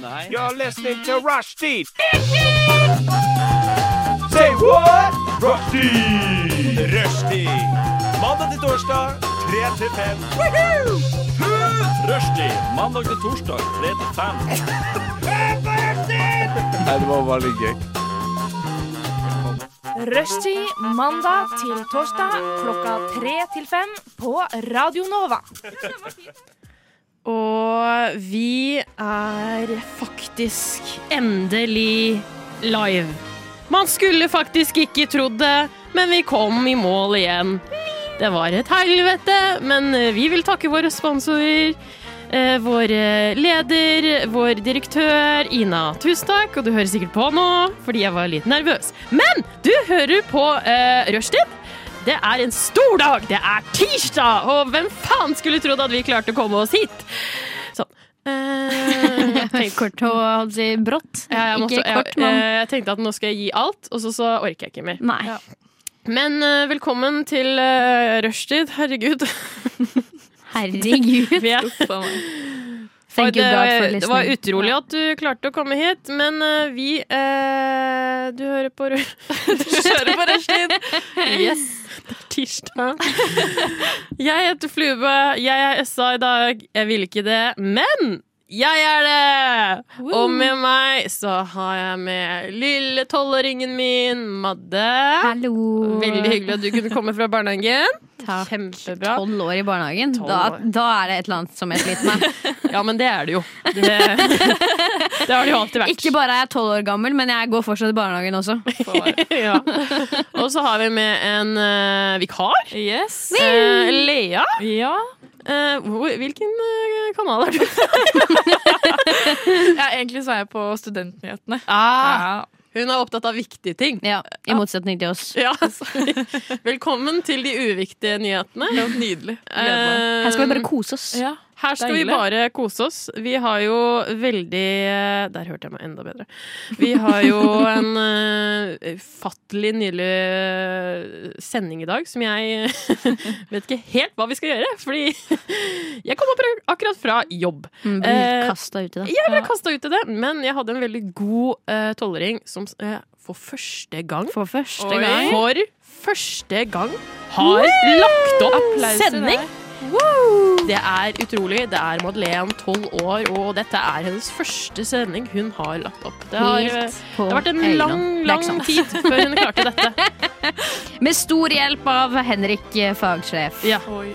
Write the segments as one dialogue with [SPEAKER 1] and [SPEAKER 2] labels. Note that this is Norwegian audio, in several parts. [SPEAKER 1] Nei.
[SPEAKER 2] You're listening to Rushdie. Say what? Rushdie. Rushdie. Mandag til torsdag, 3 til 5. Rushdie. Mandag til torsdag, 3 til 5.
[SPEAKER 1] Nei, det var veldig gøy.
[SPEAKER 3] Rushtid mandag til torsdag klokka tre til fem på Radio Nova.
[SPEAKER 4] Og vi er faktisk endelig live. Man skulle faktisk ikke trodd det, men vi kom i mål igjen. Det var et helvete, men eh, vi vil takke våre sponsorer. eh, Vår leder, vår direktør Ina, tusen takk. Og du hører sikkert på nå, fordi jeg var litt nervøs. Men du hører på uh, Rushtid. Det er en stor dag! Det er tirsdag! Og hvem faen skulle trodd at vi klarte å komme oss hit? Sånn. Eh, jeg tenkte-
[SPEAKER 5] Kort og holdt å si, brått.
[SPEAKER 4] ja, jeg, måtte,
[SPEAKER 5] ikke
[SPEAKER 4] jeg,
[SPEAKER 5] kort, men
[SPEAKER 4] eh, jeg tenkte at nå skal jeg gi alt, og så, så orker jeg ikke mer.
[SPEAKER 5] Nei.
[SPEAKER 4] Ja. Men eh, velkommen til uh, rushtid. Herregud.
[SPEAKER 5] Herregud.
[SPEAKER 4] Vi er-
[SPEAKER 5] Uff a meg. Thank you
[SPEAKER 4] det,
[SPEAKER 5] God for
[SPEAKER 4] det var
[SPEAKER 5] listening.
[SPEAKER 4] utrolig at du klarte å komme hit, men eh, vi eh, Du hører på Ru- Du hører på Rushtid! Yes. Det er tirsdag. Jeg heter Flube. Jeg er SA i dag. Jeg ville ikke det, men jeg er det! Og med meg så har jeg med lille tolvåringen min, Madde.
[SPEAKER 5] Hallo.
[SPEAKER 4] Veldig hyggelig at du kunne komme fra barnehagen.
[SPEAKER 5] Takk.
[SPEAKER 4] Kjempebra.
[SPEAKER 5] Tolv år i barnehagen.
[SPEAKER 4] Tolv
[SPEAKER 5] Da,
[SPEAKER 4] år.
[SPEAKER 5] da er det et eller annet som jeg sliter med.
[SPEAKER 4] Ja, men det er det jo. Det, det har det jo alltid vært.
[SPEAKER 5] Ikke bare er jeg tolv år gammel, men jeg går fortsatt i barnehagen også.
[SPEAKER 4] ja. Og så har vi med en eh, vikar.
[SPEAKER 6] Yes.
[SPEAKER 4] Eh, Lea.
[SPEAKER 6] Ja.
[SPEAKER 4] Eh, hvor, hvilken eh, kanal er du?
[SPEAKER 6] ja, egentlig så er jeg på studentnyhetene. Ja.
[SPEAKER 4] Ah, Hun er opptatt av viktige ting.
[SPEAKER 5] Ja, I motsetning til oss.
[SPEAKER 4] Ja. Velkommen til de uviktige nyhetene. Eh,
[SPEAKER 6] Det var nydelig. Gleder meg.
[SPEAKER 4] Her
[SPEAKER 5] Her skal vi bare kose oss.
[SPEAKER 6] Ja.
[SPEAKER 4] Her skal vi
[SPEAKER 6] Deilig.
[SPEAKER 4] bare kose oss. Vi har jo veldig eh, Der hørte jeg meg enda bedre. Vi har jo en eh, ufattelig nydelig eh, sending i dag som jeg vet ikke helt hva vi skal gjøre. Fordi jeg kom opp akkurat fra jobb.
[SPEAKER 5] Mm,
[SPEAKER 4] Eh,
[SPEAKER 5] blir kastet uti det.
[SPEAKER 4] Jeg ble kasta ut i det, men jeg hadde en veldig god uh, tolvåring som eh, for første gang
[SPEAKER 5] For første
[SPEAKER 6] Oi.
[SPEAKER 5] gang.
[SPEAKER 4] For første gang har lagt opp sending! Det er utrolig. Det er Madeleine, tolv år, og dette er hennes første sending hun har lagt opp. Det har, eh,
[SPEAKER 5] Helt på
[SPEAKER 4] det har vært en
[SPEAKER 5] øyland.
[SPEAKER 4] lang,
[SPEAKER 5] Det er
[SPEAKER 4] lang
[SPEAKER 5] ikke sant.
[SPEAKER 4] tid før hun klarte dette.
[SPEAKER 5] Med stor hjelp av Henrik eh, fagsjef.
[SPEAKER 4] Ja.
[SPEAKER 6] Oi.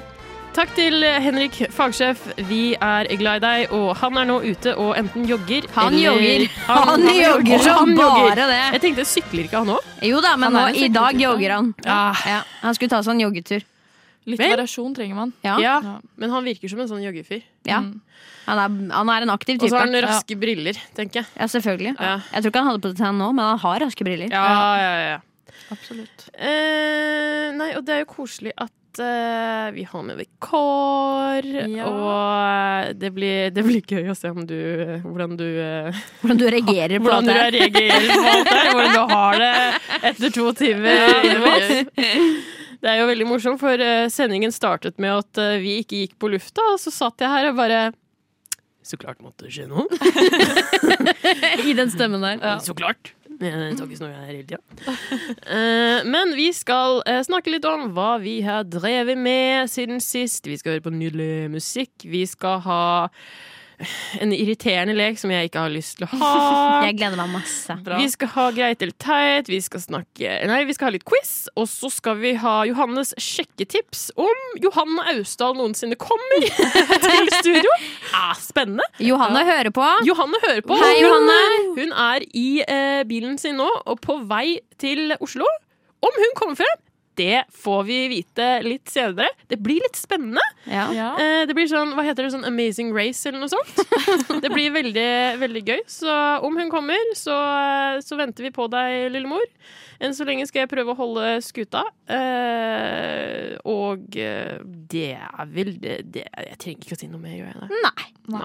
[SPEAKER 4] Takk til Henrik fagsjef. Vi er glad i deg, og han er nå ute og enten jogger
[SPEAKER 5] Han
[SPEAKER 4] eller-
[SPEAKER 5] jogger.
[SPEAKER 4] Han,
[SPEAKER 5] Han jogger som
[SPEAKER 4] Han jogger.
[SPEAKER 5] bare det.
[SPEAKER 4] Jeg tenkte, sykler ikke han òg?
[SPEAKER 5] Jo da, men
[SPEAKER 6] Han
[SPEAKER 5] nå,
[SPEAKER 6] er en
[SPEAKER 5] i dag
[SPEAKER 6] sekretær.
[SPEAKER 5] jogger han.
[SPEAKER 4] Ja.
[SPEAKER 5] Ja, han skulle ta seg en joggetur.
[SPEAKER 6] Litt
[SPEAKER 4] Vel.
[SPEAKER 6] variasjon trenger man.
[SPEAKER 5] Ja.
[SPEAKER 4] Ja.
[SPEAKER 6] Ja.
[SPEAKER 4] Men han virker som en sånn joggefyr.
[SPEAKER 5] Ja.
[SPEAKER 6] Mm.
[SPEAKER 5] Han, er, han er en aktiv
[SPEAKER 4] Og
[SPEAKER 5] type.
[SPEAKER 4] så har han
[SPEAKER 5] Ja.
[SPEAKER 4] raske briller, tenker jeg.
[SPEAKER 5] Ja, selvfølgelig.
[SPEAKER 4] Ja.
[SPEAKER 5] Jeg tror ikke han hadde på det til han nå, men han har raske briller.
[SPEAKER 4] ja, ja, ja.
[SPEAKER 6] Absolutt.
[SPEAKER 4] Eh, nei, og det er jo koselig at eh, vi har med vikar,
[SPEAKER 6] Ja.
[SPEAKER 4] og eh, det blir, det blir gøy å se om du, hvordan du, eh,
[SPEAKER 5] Hvordan du reagerer på
[SPEAKER 4] hvordan du
[SPEAKER 5] det.
[SPEAKER 4] reagerer på alt det her, hvordan du har det etter to timer innevås. Det er jo veldig morsomt, for eh, sendingen startet med at eh, vi ikke gikk på lufta, og så satt jeg her og bare Så klart måtte det skje noe.
[SPEAKER 5] I den stemmen der.
[SPEAKER 4] Så klart. Jeg tar ikke snor her hele tida. Eh, Men vi skal eh, snakke litt om hva vi har drevet med siden sist. Vi skal høre på nydelig musikk. Vi skal ha en irriterende lek som jeg ikke har lyst til å ha.
[SPEAKER 5] Jeg gleder meg masse.
[SPEAKER 6] Bra.
[SPEAKER 4] Vi skal ha greit eller teit, vi skal snakke Nei, vi skal ha litt quiz, og så skal vi ha Johannes sjekketips om Johanne Austdal noensinne kommer til studio. Ja, spennende.
[SPEAKER 5] Johanne hører på.
[SPEAKER 4] Johanne hører på.
[SPEAKER 5] Hei,
[SPEAKER 4] Hun-
[SPEAKER 5] Johanne.
[SPEAKER 4] Hun er i eh, bilen sin nå og på vei til Oslo. Om hun kommer frem, det får vi vite litt senere. Det blir litt spennende.
[SPEAKER 5] Ja.
[SPEAKER 6] Ja.
[SPEAKER 4] Eh, det blir sånn, hva heter det, sånn Amazing Race eller noe sånt. det blir veldig, veldig gøy. Så om hun kommer, så, eh, så venter vi på deg, lillemor. Enn så lenge skal jeg prøve å holde skuta. Eh, og eh, det er vel det, det Jeg trenger ikke å si noe mer, gjør jeg det?
[SPEAKER 5] Nei.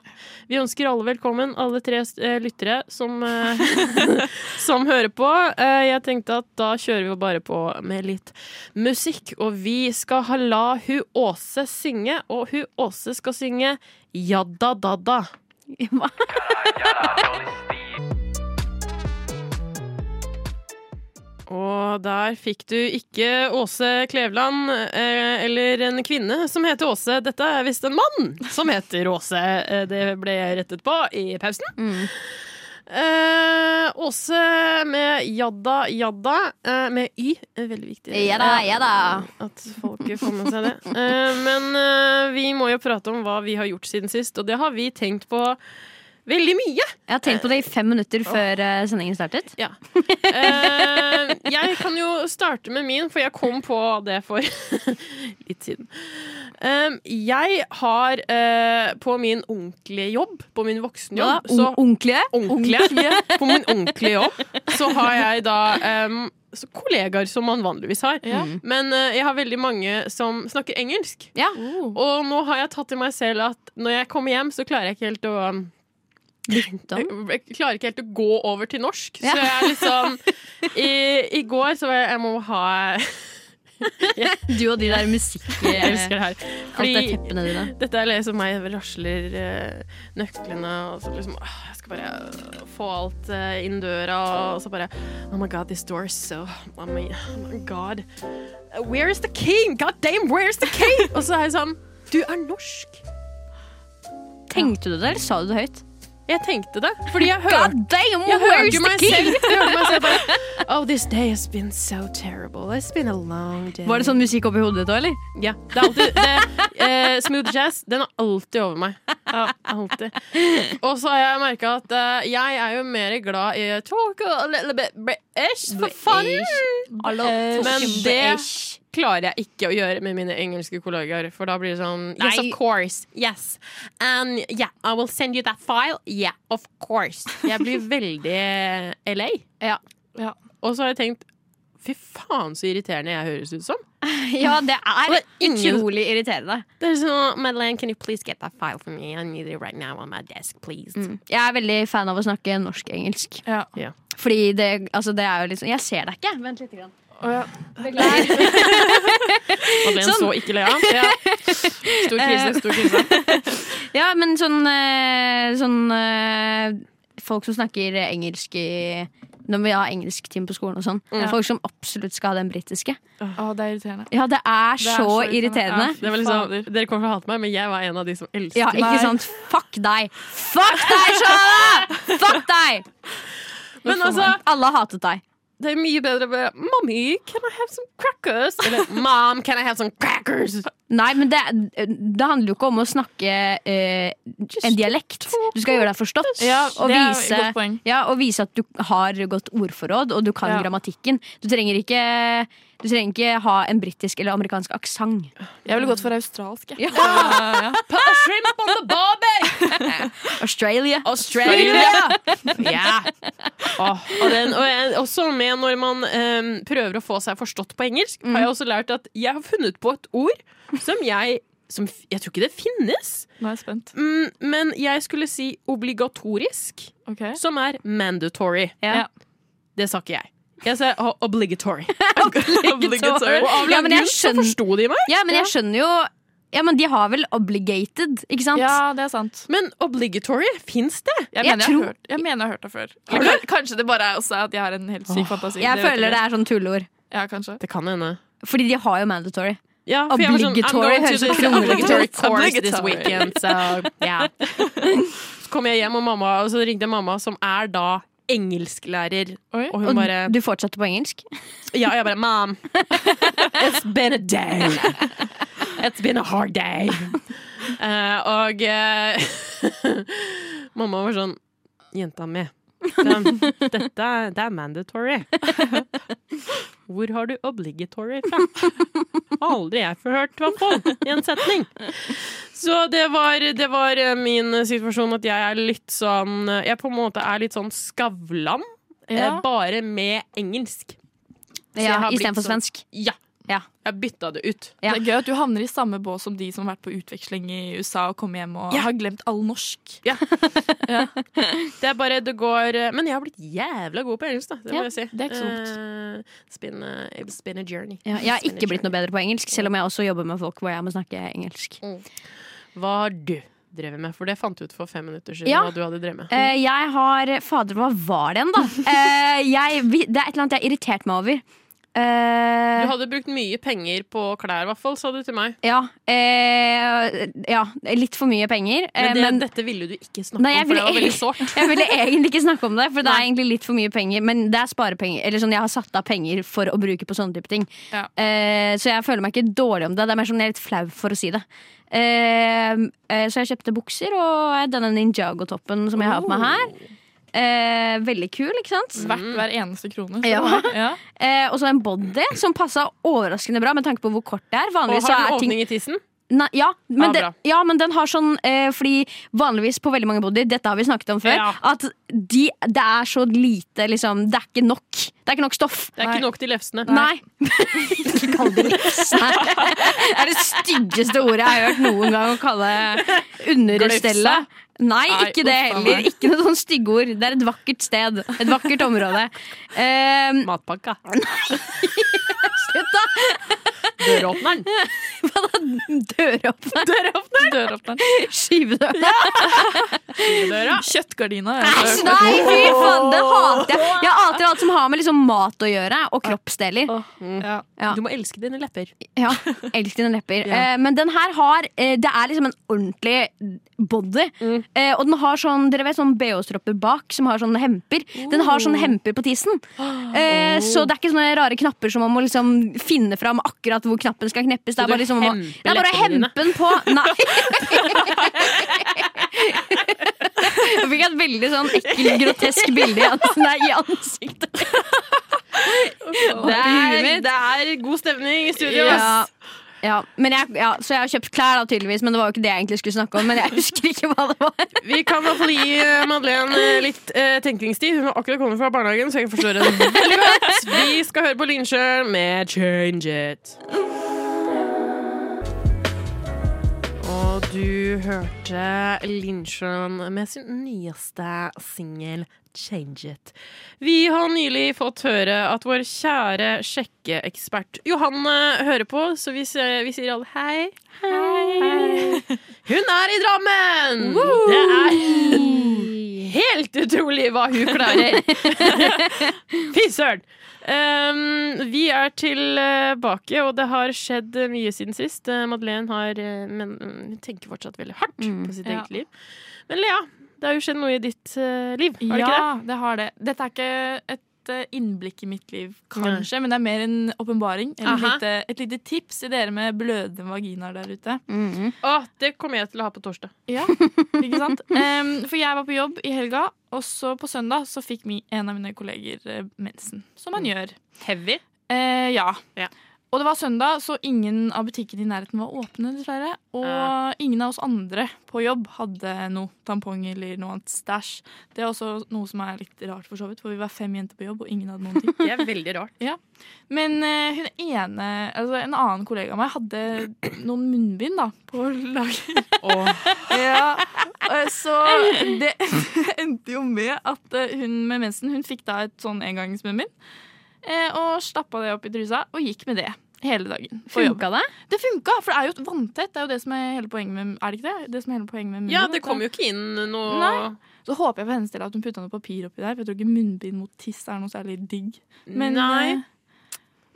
[SPEAKER 4] Vi ønsker alle velkommen, alle tre eh, lyttere som, eh, som hører på. Eh, jeg tenkte at da kjører vi bare på med litt musikk. Og vi skal ha la hu Åse synge, og hu Åse skal synge Jadda Dadda.
[SPEAKER 5] Hva?
[SPEAKER 4] Og der fikk du ikke Åse Kleveland eh, eller en kvinne som heter Åse. Dette er visst en mann som heter Åse. Eh, Det ble jeg rettet på i pausen.
[SPEAKER 5] Mm.
[SPEAKER 4] Eh, Åse med Jadda Jadda eh, med Y. Eh, Veldig viktig. Eh,
[SPEAKER 5] Ja da, ja da.
[SPEAKER 4] At folket får med seg det. Eh, men eh, vi må jo prate om hva vi har gjort siden sist, og det har vi tenkt på veldig mye.
[SPEAKER 5] Jeg har tenkt på det i fem minutter før eh, sendingen startet.
[SPEAKER 4] Ja. Eh, jeg kan jo starte med min, for jeg kom på det for litt siden. Eh, jeg har eh, på min ordentlige jobb, på min
[SPEAKER 5] Ja,
[SPEAKER 4] voksenjobb
[SPEAKER 5] on-
[SPEAKER 4] så,
[SPEAKER 5] Ordentlige?
[SPEAKER 4] ordentlige, På min ordentlige jobb så har jeg da eh, så kollegaer som man vanligvis har. Men eh, jeg har veldig mange som snakker engelsk.
[SPEAKER 5] Ja.
[SPEAKER 4] Og nå har jeg tatt til meg selv at når jeg kommer hjem, så klarer jeg ikke helt å
[SPEAKER 5] Bytte om.
[SPEAKER 4] jeg klarer ikke helt å gå over til norsk.
[SPEAKER 5] Ja.
[SPEAKER 4] Så jeg er liksom I, I går så var jeg Jeg må ha
[SPEAKER 5] Du og de der musikk...
[SPEAKER 4] Jeg elsker det her.
[SPEAKER 5] Alt det
[SPEAKER 4] Fordi
[SPEAKER 5] teppene dine.
[SPEAKER 4] dette er liksom meg rasler eh, nøklene, og så liksom åh, Jeg skal bare få alt eh, inn døra, og så bare Oh my god, this door is so oh my, oh my god. Where is the king? God damn, where is the king? og så er jeg sånn Du er norsk.
[SPEAKER 5] Tenkte du det, eller sa du det høyt?
[SPEAKER 4] Jeg tenkte det, fordi jeg hørte
[SPEAKER 5] God damn,
[SPEAKER 4] Jeg hører
[SPEAKER 5] where's
[SPEAKER 4] jo
[SPEAKER 5] the
[SPEAKER 4] meg
[SPEAKER 5] king?
[SPEAKER 4] selv. Jeg hører meg selv bare, oh, this day has been so terrible. It's been a long day.
[SPEAKER 5] Var det sånn musikk oppi hodet ditt òg, eller?
[SPEAKER 4] Ja. Det er alltid, det, eh, smooth jazz, den er alltid over meg. Ja, alltid. Og så har jeg merka at eh, jeg er jo mer glad i talk a little bit British, for faen! Eh, Men det klarer jeg ikke å gjøre med mine engelske kollegaer, for da blir det sånn Yes,
[SPEAKER 5] Nei.
[SPEAKER 4] of course. Yes. And yeah, I will send you that file. Yeah, of course. Jeg blir veldig LA.
[SPEAKER 5] Ja.
[SPEAKER 6] Ja.
[SPEAKER 4] Og så har jeg tenkt Fy faen, så irriterende jeg høres ut som.
[SPEAKER 5] Ja, det er
[SPEAKER 4] Det er ingen-
[SPEAKER 5] utrolig irriterende.
[SPEAKER 4] Det er sånn, Madeleine, can you please get that file for me? I need it right now on my desk, please.
[SPEAKER 5] Mm. Jeg er veldig fan av å snakke norsk-engelsk.
[SPEAKER 6] Ja.
[SPEAKER 4] Ja.
[SPEAKER 5] Fordi det, altså det er jo liksom Jeg ser deg ikke. Vent litt. Grann.
[SPEAKER 4] Madeleine
[SPEAKER 5] Sånn.
[SPEAKER 4] så ikke Lea. Ja. Stor krise, stor krise.
[SPEAKER 5] Ja, men sånn, eh, sånn eh, Folk som snakker engelsk i når vi har engelsktime på skolen og sånn. Folk som absolutt skal ha den britiske.
[SPEAKER 6] Å, det er irriterende.
[SPEAKER 5] Ja, det er,
[SPEAKER 6] Det er
[SPEAKER 5] så,
[SPEAKER 6] så irriterende.
[SPEAKER 5] irriterende.
[SPEAKER 4] Det var
[SPEAKER 6] sånn-
[SPEAKER 4] liksom, dere kommer til å hate meg, men jeg var en av de som elsket
[SPEAKER 5] Ja, ikke sant? Fuck deg! Fuck deg, Shana! Fuck deg!
[SPEAKER 4] Men altså,
[SPEAKER 5] Alle har hatet deg.
[SPEAKER 4] det er mye bedre med Mommy, can I have some crackers? Eller Mom, can I have some crackers?
[SPEAKER 5] Nei, men det, det handler jo ikke om å snakke eh, en dialekt. Du skal gjøre deg forstått
[SPEAKER 6] Ja,
[SPEAKER 5] og,
[SPEAKER 6] det er et
[SPEAKER 5] vise,
[SPEAKER 6] godt poeng.
[SPEAKER 5] ja, og vise at du har godt ordforråd og du kan
[SPEAKER 6] Ja.
[SPEAKER 5] grammatikken. Du trenger ikke, du trenger ikke ha en britisk eller amerikansk aksent.
[SPEAKER 6] Jeg ville gått for australsk. jeg.
[SPEAKER 5] Ja.
[SPEAKER 6] Ja, ja.
[SPEAKER 4] Put a shrimp on the barbie!
[SPEAKER 5] Australia.
[SPEAKER 4] Australia! Ja. og, den, og jeg, også med når man em, prøver å få seg forstått på engelsk, har jeg også lært at jeg har funnet på et ord som jeg som, f- Jeg tror ikke det finnes,
[SPEAKER 6] Nå er jeg spent.
[SPEAKER 4] mm, men jeg skulle si obligatorisk,
[SPEAKER 6] Ok.
[SPEAKER 4] som er mandatory.
[SPEAKER 5] Ja.
[SPEAKER 4] Det sa ikke jeg. Jeg sa o- obligatory.
[SPEAKER 5] Obligatory.
[SPEAKER 4] Og av
[SPEAKER 5] Ja, men jeg
[SPEAKER 4] grunn så
[SPEAKER 5] skjønner-
[SPEAKER 4] forsto de meg.
[SPEAKER 5] Ja, men jeg skjønner jo ja, men De har vel obligated, ikke sant?
[SPEAKER 6] Ja, det er sant.
[SPEAKER 4] Men obligatory, fins det?
[SPEAKER 6] Jeg,
[SPEAKER 5] Jeg
[SPEAKER 6] mener, jeg,
[SPEAKER 5] tror-
[SPEAKER 6] har hørt, jeg mener jeg har hørt det før. Eller Kanskje det bare er også at jeg har en helt syk fantasi.
[SPEAKER 5] Jeg
[SPEAKER 6] vet
[SPEAKER 5] føler det
[SPEAKER 6] ikke.
[SPEAKER 5] er sånn tulleord.
[SPEAKER 6] Ja, kanskje.
[SPEAKER 4] Det kan hende.
[SPEAKER 5] Fordi de har jo mandatory.
[SPEAKER 4] Ja, for jeg var sånn, I'm
[SPEAKER 5] Obligatory
[SPEAKER 4] going to
[SPEAKER 5] høres så
[SPEAKER 4] this
[SPEAKER 5] kronglete ut.
[SPEAKER 4] obligatory course this
[SPEAKER 6] Obligatory.
[SPEAKER 4] weekend, so yeah. Så kom jeg hjem, og, mamma, og så ringte jeg mamma, som er da engelsklærer.
[SPEAKER 6] Oi.
[SPEAKER 4] Og
[SPEAKER 5] Og
[SPEAKER 4] hun bare
[SPEAKER 5] du fortsatte på engelsk?
[SPEAKER 4] Ja, og jeg bare Mom, it's been a day. It's been a hard day. Eh, og eh, mamma var sånn Jenta mi, den- dette er- det er mandatory. Hvor har du obligatory fra? Aldri jeg forhørt, i hvert fall. I en setning. Så det var, det var eh, min situasjon at jeg er litt sånn Jeg på en måte er litt sånn Skavlan, eh,
[SPEAKER 6] Ja.
[SPEAKER 4] bare med engelsk. jeg
[SPEAKER 5] Ja,
[SPEAKER 4] har blitt
[SPEAKER 5] Istedenfor
[SPEAKER 4] sånn-
[SPEAKER 5] svensk?
[SPEAKER 4] Ja.
[SPEAKER 5] Ja.
[SPEAKER 4] Jeg bytta det ut.
[SPEAKER 5] Ja.
[SPEAKER 6] Det er gøy at du havner i samme bås som de som har vært på utveksling i USA og kommer hjem og
[SPEAKER 4] Ja.
[SPEAKER 6] har glemt all norsk.
[SPEAKER 4] Det er bare, det går Men jeg har blitt jævla god på engelsk, da. Det
[SPEAKER 5] Ja,
[SPEAKER 4] må jeg si.
[SPEAKER 6] det er ikke så
[SPEAKER 4] Eh, spin, a- it's been a journey.
[SPEAKER 5] Ja, jeg har
[SPEAKER 4] It's been a
[SPEAKER 5] ikke blitt noe
[SPEAKER 4] journey.
[SPEAKER 5] bedre på engelsk, selv om jeg også jobber med folk hvor jeg må snakke engelsk.
[SPEAKER 4] Hva har du drevet med? For det fant du ut for fem minutter siden.
[SPEAKER 5] Ja.
[SPEAKER 4] hva du hadde drevet med.
[SPEAKER 5] Eh, jeg har Fader, hva var det igjen, da? Eh, jeg, vi- det er et eller annet jeg har irritert meg over. Eh,
[SPEAKER 4] Du hadde brukt mye penger på klær, i hvert fall, sa du til meg.
[SPEAKER 5] ja, eh, ja, litt for mye penger. eh,
[SPEAKER 4] Men, det,
[SPEAKER 5] men
[SPEAKER 4] dette ville du ikke snakke
[SPEAKER 5] Nei, jeg
[SPEAKER 4] om, for det var
[SPEAKER 5] ville-
[SPEAKER 4] veldig sårt.
[SPEAKER 5] jeg ville egentlig ikke snakke om det, for det er
[SPEAKER 4] Nei.
[SPEAKER 5] egentlig litt for mye penger. Men det er sparepenger. Eller sånn, jeg har satt av penger for å bruke på sånne type ting.
[SPEAKER 6] Ja.
[SPEAKER 5] Eh, så jeg føler meg ikke dårlig om det. Det er mer sånn jeg er litt flau for å si det. Eh, eh, så jeg kjøpte bukser og denne Ninjago-toppen som jeg har på meg her.
[SPEAKER 4] Oh.
[SPEAKER 5] Eh, veldig kul, ikke sant?
[SPEAKER 4] Mm.
[SPEAKER 6] Verdt hver eneste krone. så
[SPEAKER 5] Ja.
[SPEAKER 6] det var- ja.
[SPEAKER 5] Eh, og så en body som passa overraskende bra med tanke på hvor kort det er.
[SPEAKER 4] Og
[SPEAKER 5] Vanligvis så
[SPEAKER 4] har du
[SPEAKER 5] er ting
[SPEAKER 4] åpning i tissen?
[SPEAKER 5] Nei, ja, men
[SPEAKER 4] Ah,
[SPEAKER 5] den,
[SPEAKER 4] bra.
[SPEAKER 5] ja, men den har sånn eh, Fordi vanligvis på veldig mange bodyer, dette har vi snakket om før,
[SPEAKER 4] Ja.
[SPEAKER 5] at de, det er så lite liksom, Det er ikke nok. Det er ikke nok stoff.
[SPEAKER 4] Det er ikke nok til lefsene.
[SPEAKER 5] Nei. Ikke kall det lefse. Det er det styggeste ordet jeg har hørt noen gang å kalle understellet. Nei,
[SPEAKER 6] Nei,
[SPEAKER 5] ikke det
[SPEAKER 6] uff a meg.
[SPEAKER 5] heller. Ikke noe sånn stygge ord. Det er et vakkert sted. Et vakkert område. Eh,
[SPEAKER 4] Matpakka.
[SPEAKER 5] slutt, da!
[SPEAKER 4] Døråpneren.
[SPEAKER 5] Døråpner.
[SPEAKER 6] Døråpneren.
[SPEAKER 5] Skyvedør.
[SPEAKER 4] Døra.
[SPEAKER 6] Kjøttgardina. ja.
[SPEAKER 5] Æsj, nei, fy faen! Det hater jeg. Jeg hater alt som har med liksom mat å gjøre, og kroppsdeler.
[SPEAKER 6] Ja.
[SPEAKER 5] Ja.
[SPEAKER 4] Du må elske dine lepper.
[SPEAKER 5] Ja, Elsk dine lepper. Eh, men den her har eh, Det er liksom en ordentlig body.
[SPEAKER 4] Mm.
[SPEAKER 5] Eh, og den har sånn Dere vet sånn BH-stropper bak som har sånne hemper. Den har
[SPEAKER 4] Oh.
[SPEAKER 5] sånne hemper på tissen. Eh, så det er ikke sånne rare knapper som man må liksom finne fram akkurat hvor knappen skal kneppes. Det
[SPEAKER 4] Så
[SPEAKER 5] er
[SPEAKER 4] du
[SPEAKER 5] bare liksom man må-
[SPEAKER 4] hemper
[SPEAKER 5] Det er bare
[SPEAKER 4] leppene dine?
[SPEAKER 5] hempen på Nei. Jeg fikk et veldig sånn ekkel, grotesk bilde i ans- nei, i ansiktet.
[SPEAKER 4] Det
[SPEAKER 5] huet
[SPEAKER 4] er,
[SPEAKER 5] mitt.
[SPEAKER 4] det er god stemning i studio. ass.
[SPEAKER 5] Ja. Ja, men jeg, ja, så jeg har kjøpt klær, da, tydeligvis, men det var jo ikke det jeg egentlig skulle snakke om. Men jeg husker ikke hva det var.
[SPEAKER 4] Vi kan i hvert fall gi eh, Madeleine eh, litt eh, tenkningstid. Hun har akkurat kommet fra barnehagen, så jeg forstår henne veldig godt. Vi skal høre på Lynsjø med 'Change It'. Og du hørte Lynsjøen med sin nyeste singel 'Change It'. Vi har nylig fått høre at vår kjære sjekkeekspert Johanne hører på, så vi, sier- vi sier alle hei. Hun er i Drammen! Det er helt utrolig hva hun klarer. Fy søren! Um, vi er tilbake, og det har skjedd mye siden sist. Eh, Madeleine har, eh, men, mm, hun tenker fortsatt veldig hardt på sitt
[SPEAKER 6] Mm, ja.
[SPEAKER 4] eget liv. Men Lea, det har jo skjedd noe i ditt eh, liv, har det
[SPEAKER 6] ja,
[SPEAKER 4] ikke det?
[SPEAKER 6] det? har det. Dette er ikke et eh, innblikk i mitt liv, kanskje, men det er mer en åpenbaring. eller
[SPEAKER 4] Aha.
[SPEAKER 6] et lite- Et lite tips til dere med blødende vaginaer der ute.
[SPEAKER 5] Mm.
[SPEAKER 4] Å, det kommer jeg til å ha på torsdag.
[SPEAKER 6] Ja, ikke sant? Em, for jeg var på jobb i helga, og så på søndag så fikk mi, en av mine kolleger eh, mensen. Som man gjør.
[SPEAKER 4] Heavy.
[SPEAKER 6] Eh, ja.
[SPEAKER 4] Ja.
[SPEAKER 6] Og det var søndag, så ingen av butikkene i nærheten var åpne, dessverre. Og
[SPEAKER 4] Ja.
[SPEAKER 6] ingen av oss andre på jobb hadde noe tampong eller noe annet stæsj. Det er også noe som er litt rart, for så vidt, for vi var fem jenter på jobb, og ingen hadde noen ting.
[SPEAKER 4] Det er veldig rart.
[SPEAKER 6] Men eh, hun ene, altså en annen kollega av meg hadde noen munnbind da, på lager. Ja, eh, så det endte jo med at eh, hun med mensen hun fikk da et sånn engangsmunnbind. eh, Og stappa det opp i trusa og gikk med det hele dagen. på jobb.
[SPEAKER 5] Funka det?
[SPEAKER 6] Det funka, for det er jo vanntett. Det er jo det som er hele poenget med Er det ikke det? Det som er hele poenget med munnbind,
[SPEAKER 4] Ja,
[SPEAKER 6] vet
[SPEAKER 4] det
[SPEAKER 6] du.
[SPEAKER 4] kom jo ikke inn noe
[SPEAKER 6] Nei. Så håper jeg for hennes del at hun putta noe papir oppi der, for jeg tror ikke munnbind mot tiss er noe særlig digg. Men
[SPEAKER 4] Nei.
[SPEAKER 6] eh,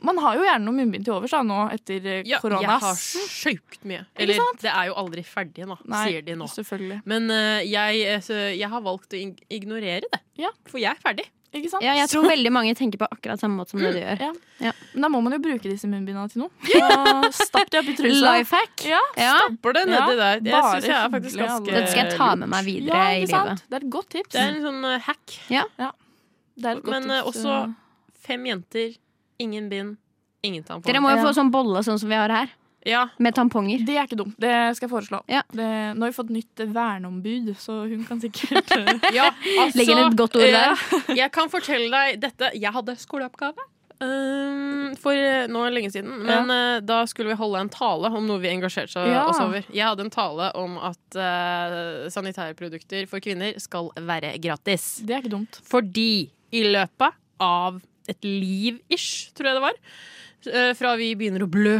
[SPEAKER 6] man har jo gjerne noe munnbind til overs da, nå etter eh,
[SPEAKER 4] Ja, jeg
[SPEAKER 6] korona.
[SPEAKER 4] har sjukt mye. Eller,
[SPEAKER 6] sant?
[SPEAKER 4] det er jo aldri ferdig, da,
[SPEAKER 6] Nei,
[SPEAKER 4] sier de nå.
[SPEAKER 6] Selvfølgelig.
[SPEAKER 4] Men eh, jeg, eh, så jeg har valgt å ig- ignorere det.
[SPEAKER 6] Ja. Mm.
[SPEAKER 4] For jeg er ferdig.
[SPEAKER 6] Ikke sant?
[SPEAKER 5] Ja, jeg tror veldig mange tenker på akkurat samme måte som det du gjør.
[SPEAKER 6] Men da må man jo bruke disse munnbindene til noe. Og stapp de opp i trusa.
[SPEAKER 5] Life hack.
[SPEAKER 6] Ja,
[SPEAKER 5] Ja,
[SPEAKER 4] Stapper det
[SPEAKER 6] Ja,
[SPEAKER 4] nedi der. Jeg
[SPEAKER 6] bare
[SPEAKER 4] synes jeg er faktisk ganske
[SPEAKER 6] hyggelig, alle.
[SPEAKER 5] Dette skal jeg ta med meg
[SPEAKER 6] ja,
[SPEAKER 5] videre i
[SPEAKER 6] ikke
[SPEAKER 5] livet.
[SPEAKER 6] sant? Det er et godt tips.
[SPEAKER 4] Det er en sånn eh, hack.
[SPEAKER 6] Det er et godt
[SPEAKER 4] Men, eh,
[SPEAKER 6] tips,
[SPEAKER 4] også-
[SPEAKER 6] eh.
[SPEAKER 4] Fem jenter, ingen bind, ingen tampong.
[SPEAKER 5] Dere må jo
[SPEAKER 6] Ja.
[SPEAKER 5] få sånn bolle sånn som vi har her,
[SPEAKER 4] Ja,
[SPEAKER 5] med tamponger.
[SPEAKER 6] Det er ikke dumt. Det skal jeg foreslå.
[SPEAKER 5] Ja.
[SPEAKER 6] Det, nå har vi fått nytt eh, verneombud, så hun kan sikkert eh,
[SPEAKER 4] ja altså,
[SPEAKER 5] Legg inn et godt ord der.
[SPEAKER 4] eh, jeg kan fortelle deg dette. Jeg hadde skoleoppgave. eh, for eh, nå er det lenge siden, men eh, da skulle vi holde en tale om noe vi engasjerte seg
[SPEAKER 6] Ja.
[SPEAKER 4] oss over. Jeg hadde en tale om at eh, sanitærprodukter for kvinner skal være gratis.
[SPEAKER 6] Det er ikke dumt.
[SPEAKER 4] Fordi i løpet av et liv-ish, tror jeg det var, eh, fra vi begynner å blø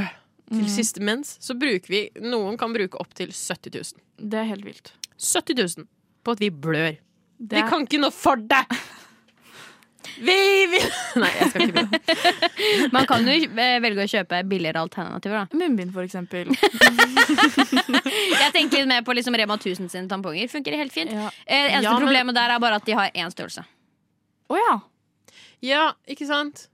[SPEAKER 4] til
[SPEAKER 5] Mm.
[SPEAKER 4] siste mens, så bruker vi Noen kan bruke opptil 70 000.
[SPEAKER 6] Det er helt vilt.
[SPEAKER 4] 70 000 på at vi blør.
[SPEAKER 6] Det
[SPEAKER 4] Vi
[SPEAKER 6] er,
[SPEAKER 4] kan ikke noe for det! Vi vil Nei, jeg skal ikke begynne.
[SPEAKER 5] Man kan jo eh, velge å kjøpe billigere alternativer, da.
[SPEAKER 6] Munnbind, for eksempel.
[SPEAKER 5] Jeg tenker litt mer på liksom Rema 1000 sine tamponger. Funker helt fint.
[SPEAKER 6] Ja.
[SPEAKER 5] Eh, eneste
[SPEAKER 4] Ja, men-
[SPEAKER 5] problemet der er bare at de har én størrelse.
[SPEAKER 6] Å ja.
[SPEAKER 4] Ja, ikke sant?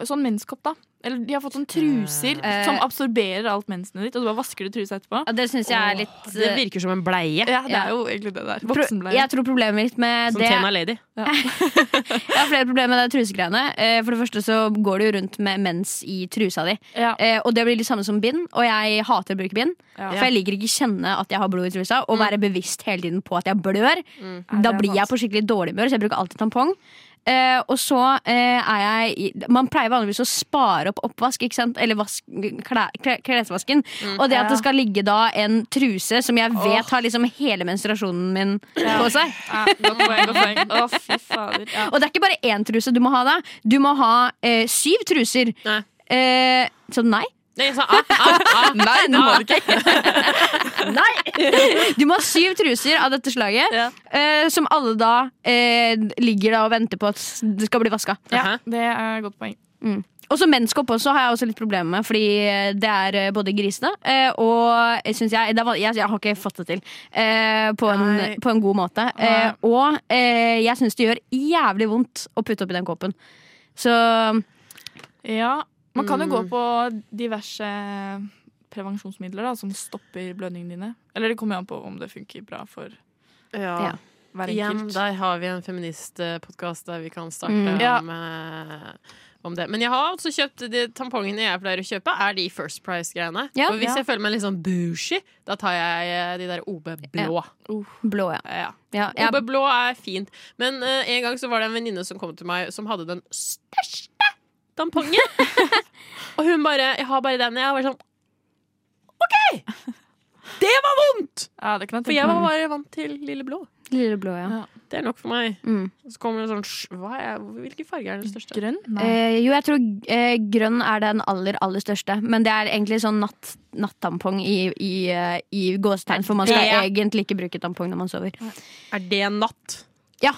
[SPEAKER 6] Sånn menskopp, da. Eller de har fått sånne truser
[SPEAKER 5] Eh.
[SPEAKER 6] som absorberer alt mensen ditt, og du bare vasker det trusa etterpå.
[SPEAKER 5] Ja, Det syns jeg er litt
[SPEAKER 4] Det virker som en bleie.
[SPEAKER 6] Ja, det
[SPEAKER 5] Ja.
[SPEAKER 6] er jo egentlig det der.
[SPEAKER 5] Pro-
[SPEAKER 6] Voksenbleie.
[SPEAKER 5] Jeg tror problemet mitt med
[SPEAKER 4] Som
[SPEAKER 5] det
[SPEAKER 4] Tena Lady.
[SPEAKER 5] Jeg har flere problemer med de trusegreiene. Eh, For det første så går du jo rundt med mens i trusa di.
[SPEAKER 6] Ja.
[SPEAKER 5] Eh, Og det blir litt samme som bind, og jeg hater å bruke bind.
[SPEAKER 6] Ja. Mm.
[SPEAKER 5] For jeg liker ikke kjenne at jeg har blod i trusa, og være bevisst hele tiden på at jeg blør.
[SPEAKER 6] Ja, det
[SPEAKER 5] Da
[SPEAKER 6] er
[SPEAKER 5] blir jeg
[SPEAKER 6] sant.
[SPEAKER 5] på skikkelig dårlig humør, så jeg bruker alltid tampong. Eh, og så eh, er jeg i, Man pleier vanligvis å spare opp oppvask, ikke sant? eller vask, klæ, klæ, klesvasken.
[SPEAKER 6] Mm.
[SPEAKER 5] Og det at det skal ligge da en truse som jeg vet har liksom hele menstruasjonen min på seg.
[SPEAKER 6] Ja, godt poeng, godt poeng. Å, fy fader. Ja.
[SPEAKER 5] Og det er ikke bare én truse du må ha da. Du må ha eh, syv truser.
[SPEAKER 4] Nei.
[SPEAKER 5] Eh, så nei.
[SPEAKER 4] Nei, jeg sa ah, ah, ah.
[SPEAKER 5] Nei, det må du ikke. nei. Du må ha syv truser av dette slaget,
[SPEAKER 6] Ja.
[SPEAKER 5] eh, som alle da eh, ligger da og venter på at s- det skal bli vaska.
[SPEAKER 6] Ja,
[SPEAKER 4] Aha.
[SPEAKER 6] det er et godt poeng.
[SPEAKER 5] Og så menskopp også har jeg også litt problemer med, fordi det er eh, både grisene eh, og jeg synes jeg, det er, van- jeg, jeg har ikke fått det til eh, på, en,
[SPEAKER 4] Nei.
[SPEAKER 5] på en god måte. Eh,
[SPEAKER 6] Nei.
[SPEAKER 5] og eh, jeg syns det gjør jævlig vondt å putte oppi den kåpen. Så
[SPEAKER 6] Ja, man kan jo
[SPEAKER 4] Mm.
[SPEAKER 6] gå på diverse eh, prevensjonsmidler da, som stopper blødningene dine. Eller det kommer jo an på om det funker bra for
[SPEAKER 4] Ja.
[SPEAKER 6] hver
[SPEAKER 4] Igjen,
[SPEAKER 6] enkelt.
[SPEAKER 4] der har vi en feministpodkast der vi kan starte
[SPEAKER 5] Mm.
[SPEAKER 6] Ja.
[SPEAKER 4] om, eh, om det. Men jeg har også kjøpt de tampongene jeg pleier å kjøpe, er de First Price-greiene.
[SPEAKER 5] Ja.
[SPEAKER 4] og hvis
[SPEAKER 6] Ja.
[SPEAKER 4] jeg føler meg litt sånn bougie, da tar jeg eh, de der OB-blå.
[SPEAKER 5] blå, ja.
[SPEAKER 4] Ja.
[SPEAKER 5] ja, ja.
[SPEAKER 4] OB-blå er fint. Men eh, en gang så var det en venninne som kom til meg som hadde den største tampongen. og hun bare 'Jeg har bare den', jeg. Og var sånn OK! Det var vondt!
[SPEAKER 6] Ja, det kan jeg
[SPEAKER 4] For jeg
[SPEAKER 6] tenke
[SPEAKER 4] var
[SPEAKER 5] Mm.
[SPEAKER 4] bare
[SPEAKER 6] meg.
[SPEAKER 4] vant til lille blå.
[SPEAKER 5] Lille blå, ja.
[SPEAKER 4] Det er nok for meg.
[SPEAKER 5] Mm.
[SPEAKER 4] Så kommer det sånn sj- hva er, Hvilke farger er den største?
[SPEAKER 6] Grønn? Nei.
[SPEAKER 5] Eh, jo, jeg tror eh, grønn er den aller, aller største. Men det er egentlig sånn natt, nattampong i, i, eh, i gåsetegn, for man skal
[SPEAKER 4] Ja.
[SPEAKER 5] egentlig ikke bruke tampong når man sover.
[SPEAKER 4] Er det natt?
[SPEAKER 5] Ja.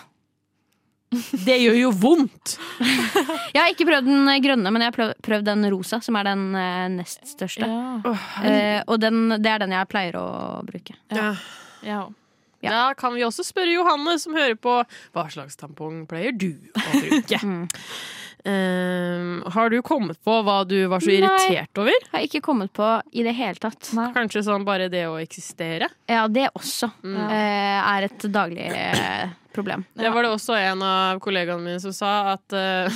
[SPEAKER 4] Det gjør jo vondt!
[SPEAKER 5] Jeg har ikke prøvd den eh, grønne, men jeg har plø- prøvd den rosa, som er den eh, nest største.
[SPEAKER 6] Ja,
[SPEAKER 5] Eh, og den, det er den jeg pleier å bruke.
[SPEAKER 6] jeg òg.
[SPEAKER 5] Ja.
[SPEAKER 4] Da kan vi også spørre Johanne, som hører på, hva slags tampong pleier du å bruke?
[SPEAKER 5] Mm.
[SPEAKER 4] Eh, har du kommet på hva du var så
[SPEAKER 5] Nei.
[SPEAKER 4] irritert over?
[SPEAKER 5] Jeg har ikke kommet på i det hele tatt.
[SPEAKER 6] Nei.
[SPEAKER 4] Kanskje sånn bare det å eksistere?
[SPEAKER 5] Ja, det også
[SPEAKER 4] Mm.
[SPEAKER 5] eh, er et daglig eh, problem.
[SPEAKER 4] Det var det også en av kollegaene mine som sa at eh,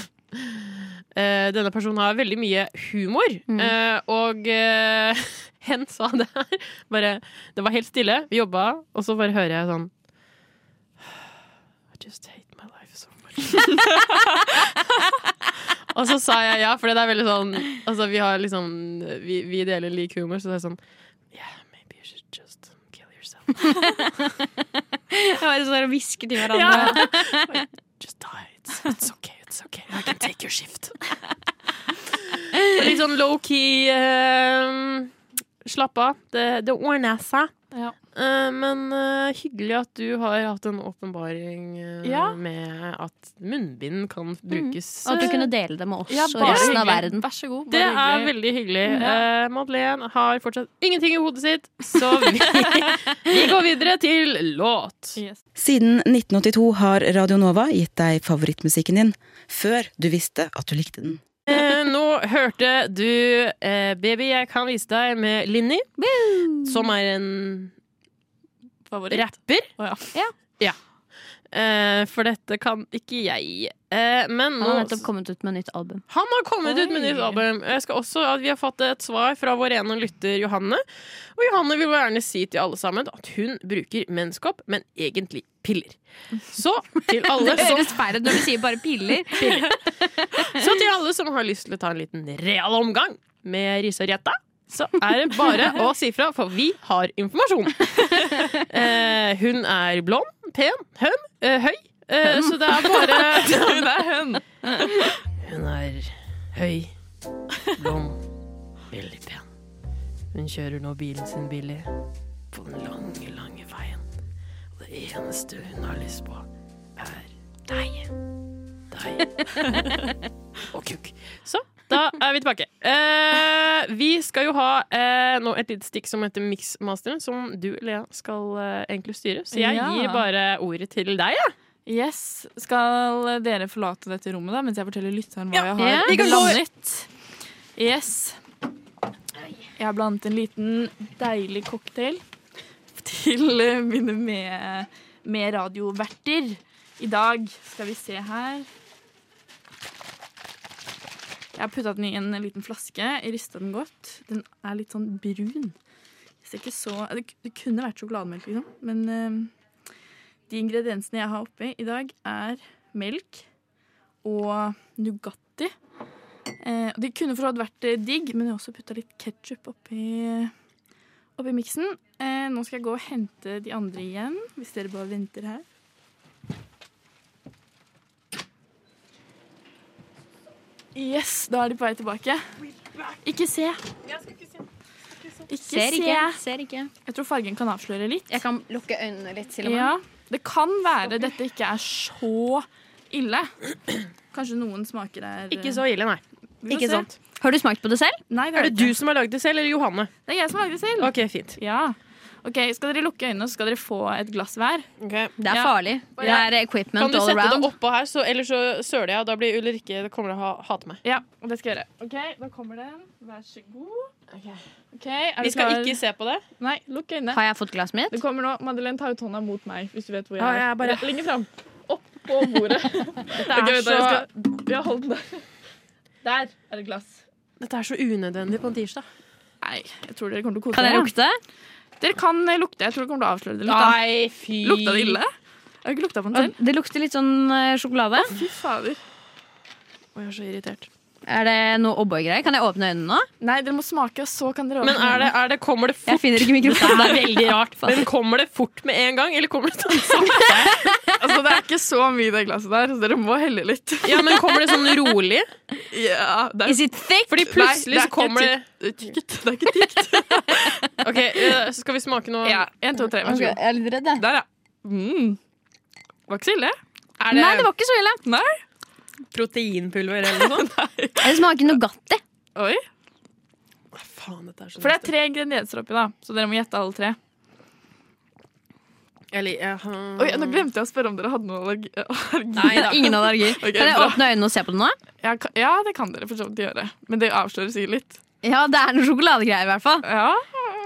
[SPEAKER 4] eh, denne personen har veldig mye humor. eh, og eh, hen sa det her. Bare, det var helt stille, vi jobba, og så bare hører jeg sånn I just hate my life so much. og så sa jeg ja, for det er veldig sånn Altså, vi har liksom Vi, vi deler lik humor, så det er sånn Yeah, maybe you should just kill yourself.
[SPEAKER 5] Jeg bare står og hvisker til
[SPEAKER 4] Just die. It's, it's okay. It's okay. I can take your shift. Litt sånn low-key ehm, Slapp av. Det, det ordner seg.
[SPEAKER 6] Ja.
[SPEAKER 4] Eh, men eh, hyggelig at du har hatt en åpenbaring eh,
[SPEAKER 6] Ja.
[SPEAKER 4] med at munnbind kan brukes.
[SPEAKER 5] Mm. Og
[SPEAKER 4] Eh,
[SPEAKER 5] at du kunne dele det med oss
[SPEAKER 6] Ja,
[SPEAKER 5] og
[SPEAKER 6] bare
[SPEAKER 5] resten
[SPEAKER 6] hyggelig.
[SPEAKER 5] av verden.
[SPEAKER 6] Vær så god.
[SPEAKER 4] Det
[SPEAKER 6] Bare
[SPEAKER 4] er
[SPEAKER 6] hyggelig.
[SPEAKER 4] veldig hyggelig.
[SPEAKER 6] Ja.
[SPEAKER 4] Eh, Madeleine har fortsatt ingenting i hodet sitt, så vi, vi går videre til låt.
[SPEAKER 6] Yes.
[SPEAKER 7] Siden 1982 har Radio Nova gitt deg favorittmusikken din, før du visste at du likte den.
[SPEAKER 4] Eh, nå hørte du eh, 'Baby, jeg kan vise deg' med Linni, som er en
[SPEAKER 6] Favoritt.
[SPEAKER 4] rapper.
[SPEAKER 6] Å,
[SPEAKER 4] Eh, for dette kan ikke jeg. Eh,
[SPEAKER 5] Han
[SPEAKER 4] men nå
[SPEAKER 5] har nettopp kommet ut med nytt album.
[SPEAKER 4] Han har kommet ut med
[SPEAKER 6] Oi.
[SPEAKER 4] nytt album. Jeg skal også at Vi har fått et svar fra vår ene lytter Johanne. Og Johanne vil gjerne si til alle sammen at hun bruker menskopp, men egentlig piller. Så til alle som
[SPEAKER 5] feil ut når du sier bare piller.
[SPEAKER 4] Så til alle som har lyst til å ta en liten real omgang med Riise og Retta, så er det bare å si fra, for vi har informasjon. Eh, hun er blond, pen, høn, eh, høy. Eh, så det er bare Hun er høn. Hun er høy, blond, veldig pen. kjører nå bilen sin billig på den lange, lange veien. Og det eneste hun har lyst på, er deg. Deg. Og kuk. Så, da er vi tilbake. Eh, vi skal jo ha eh, nå et lite stikk som heter Mixmaster, som du, Lea, skal eh, egentlig styre. Så jeg
[SPEAKER 6] Ja.
[SPEAKER 4] gir bare ordet til deg, jeg.
[SPEAKER 6] Yes, Skal dere forlate dette rommet da, mens jeg forteller lytteren hva jeg har
[SPEAKER 4] vi kan gå-
[SPEAKER 6] blandet? Yes. Jeg har blandet en liten deilig cocktail til eh, mine med, med radioverter. I dag skal vi se her Jeg har putta den i en liten flaske, rista den godt. Den er litt sånn brun. Det Ser ikke så, det, det kunne vært sjokolademelk, liksom, men eh, de ingrediensene jeg har oppi i dag, er melk og Nugatti. Eh, og det kunne for så vidt vært eh, digg, men jeg har også putta litt ketsjup oppi, oppi miksen. Eh, nå skal jeg gå og hente de andre igjen, hvis dere bare venter her. Yes, da er de på vei tilbake. Ikke se. Ikke se.
[SPEAKER 5] Ser ikke. Ser ikke.
[SPEAKER 6] Jeg tror fargen kan avsløre litt.
[SPEAKER 5] Jeg kan lukke øynene litt. Til og med.
[SPEAKER 6] Ja, det kan være dette ikke er så ille. Kanskje noen smaker er eh,
[SPEAKER 4] Ikke så ille, nei.
[SPEAKER 6] Vi får
[SPEAKER 5] ikke
[SPEAKER 6] se.
[SPEAKER 5] sant. Har du smakt på det selv?
[SPEAKER 6] Nei,
[SPEAKER 4] Er
[SPEAKER 6] det Mm. er,
[SPEAKER 4] det
[SPEAKER 6] ikke.
[SPEAKER 4] du som har lagd det selv, eller Johanne?
[SPEAKER 6] Det er jeg som lager det selv.
[SPEAKER 4] OK, fint.
[SPEAKER 6] Ja. Ok, Skal dere lukke øynene, så skal dere få et glass hver?
[SPEAKER 5] Det er
[SPEAKER 6] Ja.
[SPEAKER 5] farlig. Det
[SPEAKER 6] Ja.
[SPEAKER 5] er equipment
[SPEAKER 4] Kan du
[SPEAKER 5] all
[SPEAKER 4] sette
[SPEAKER 5] around.
[SPEAKER 4] det oppå her, så, eller så søler jeg, og da blir Ulrikke da kommer til å ha, hate meg.
[SPEAKER 6] Ja, og det skal jeg gjøre. Ok, Da kommer den. Vær så god. Ok, er
[SPEAKER 4] Vi
[SPEAKER 6] du
[SPEAKER 4] skal
[SPEAKER 6] klar?
[SPEAKER 4] ikke se på det.
[SPEAKER 6] Nei, lukk øynene.
[SPEAKER 5] Har jeg fått glasset mitt?
[SPEAKER 6] Det kommer nå. Madeleine, ta ut hånda mot meg hvis du vet hvor jeg
[SPEAKER 4] Ja,
[SPEAKER 6] er.
[SPEAKER 4] jeg er bare-
[SPEAKER 6] Rett- Lenger fram. Oppå bordet.
[SPEAKER 4] Dette
[SPEAKER 6] Ok,
[SPEAKER 4] er,
[SPEAKER 6] vent da,
[SPEAKER 4] så,
[SPEAKER 6] jeg skal... Ja, hold den der. Der er det glass.
[SPEAKER 4] dette er så unødvendig på en tirsdag.
[SPEAKER 6] Nei, jeg tror dere kommer til å kose
[SPEAKER 5] Kan jeg
[SPEAKER 6] dere.
[SPEAKER 5] lukte?
[SPEAKER 6] Dere kan eh, lukte. Jeg tror det kommer til å avsløre det litt. da.
[SPEAKER 4] Nei, fy
[SPEAKER 6] Lukta det ille? Jeg har ikke lukta på den selv.
[SPEAKER 5] Det lukter litt sånn eh, sjokolade.
[SPEAKER 6] Fy fader.
[SPEAKER 4] Å, jeg er så irritert.
[SPEAKER 5] Er det noe Obboy-greier? Kan jeg åpne øynene nå?
[SPEAKER 6] Nei, dere må smake, og så kan dere
[SPEAKER 4] Men er det, er det, kommer det
[SPEAKER 5] Jeg
[SPEAKER 4] fort?
[SPEAKER 5] finner ikke
[SPEAKER 4] Det
[SPEAKER 5] mikrofonen.
[SPEAKER 4] er veldig rart. Men kommer det fort med en gang, eller kommer det sånn sakte?
[SPEAKER 6] altså, det er ikke så mye i det glasset der, så dere må helle litt.
[SPEAKER 4] Ja, men kommer det sånn rolig?
[SPEAKER 6] Ja, det
[SPEAKER 5] Is it thick?
[SPEAKER 4] Fordi plutselig så kommer det
[SPEAKER 6] er ikke tykt. Det er ikke tykt.
[SPEAKER 4] OK, eh, så skal vi smake nå.
[SPEAKER 6] Ja, en, to, tre, vær
[SPEAKER 5] Ok,
[SPEAKER 6] så god.
[SPEAKER 5] jeg er litt redd, jeg.
[SPEAKER 6] Der, ja. Mm. Var ikke så ille.
[SPEAKER 4] Er
[SPEAKER 5] Nei, det
[SPEAKER 4] det
[SPEAKER 5] var ikke så ille.
[SPEAKER 4] proteinpulver eller noe sånt?
[SPEAKER 5] Det smaker Nugatti.
[SPEAKER 6] Oi.
[SPEAKER 4] Nei, Faen, dette er så
[SPEAKER 6] For det er tre ingredienser oppi, da, så dere må gjette alle tre.
[SPEAKER 4] Eller, jeg har-
[SPEAKER 6] Oi, Nå glemte jeg å spørre om dere hadde noe allergi. allergi.
[SPEAKER 4] Nei da.
[SPEAKER 5] Ingen allergier.
[SPEAKER 6] Ok,
[SPEAKER 5] kan jeg
[SPEAKER 6] bra.
[SPEAKER 5] åpne øynene og se på det nå?
[SPEAKER 6] Ja, ka- ja, det kan dere for så vidt gjøre, men det avslører sikkert litt.
[SPEAKER 5] Ja, det er noe sjokoladegreier i hvert fall.
[SPEAKER 6] Ja,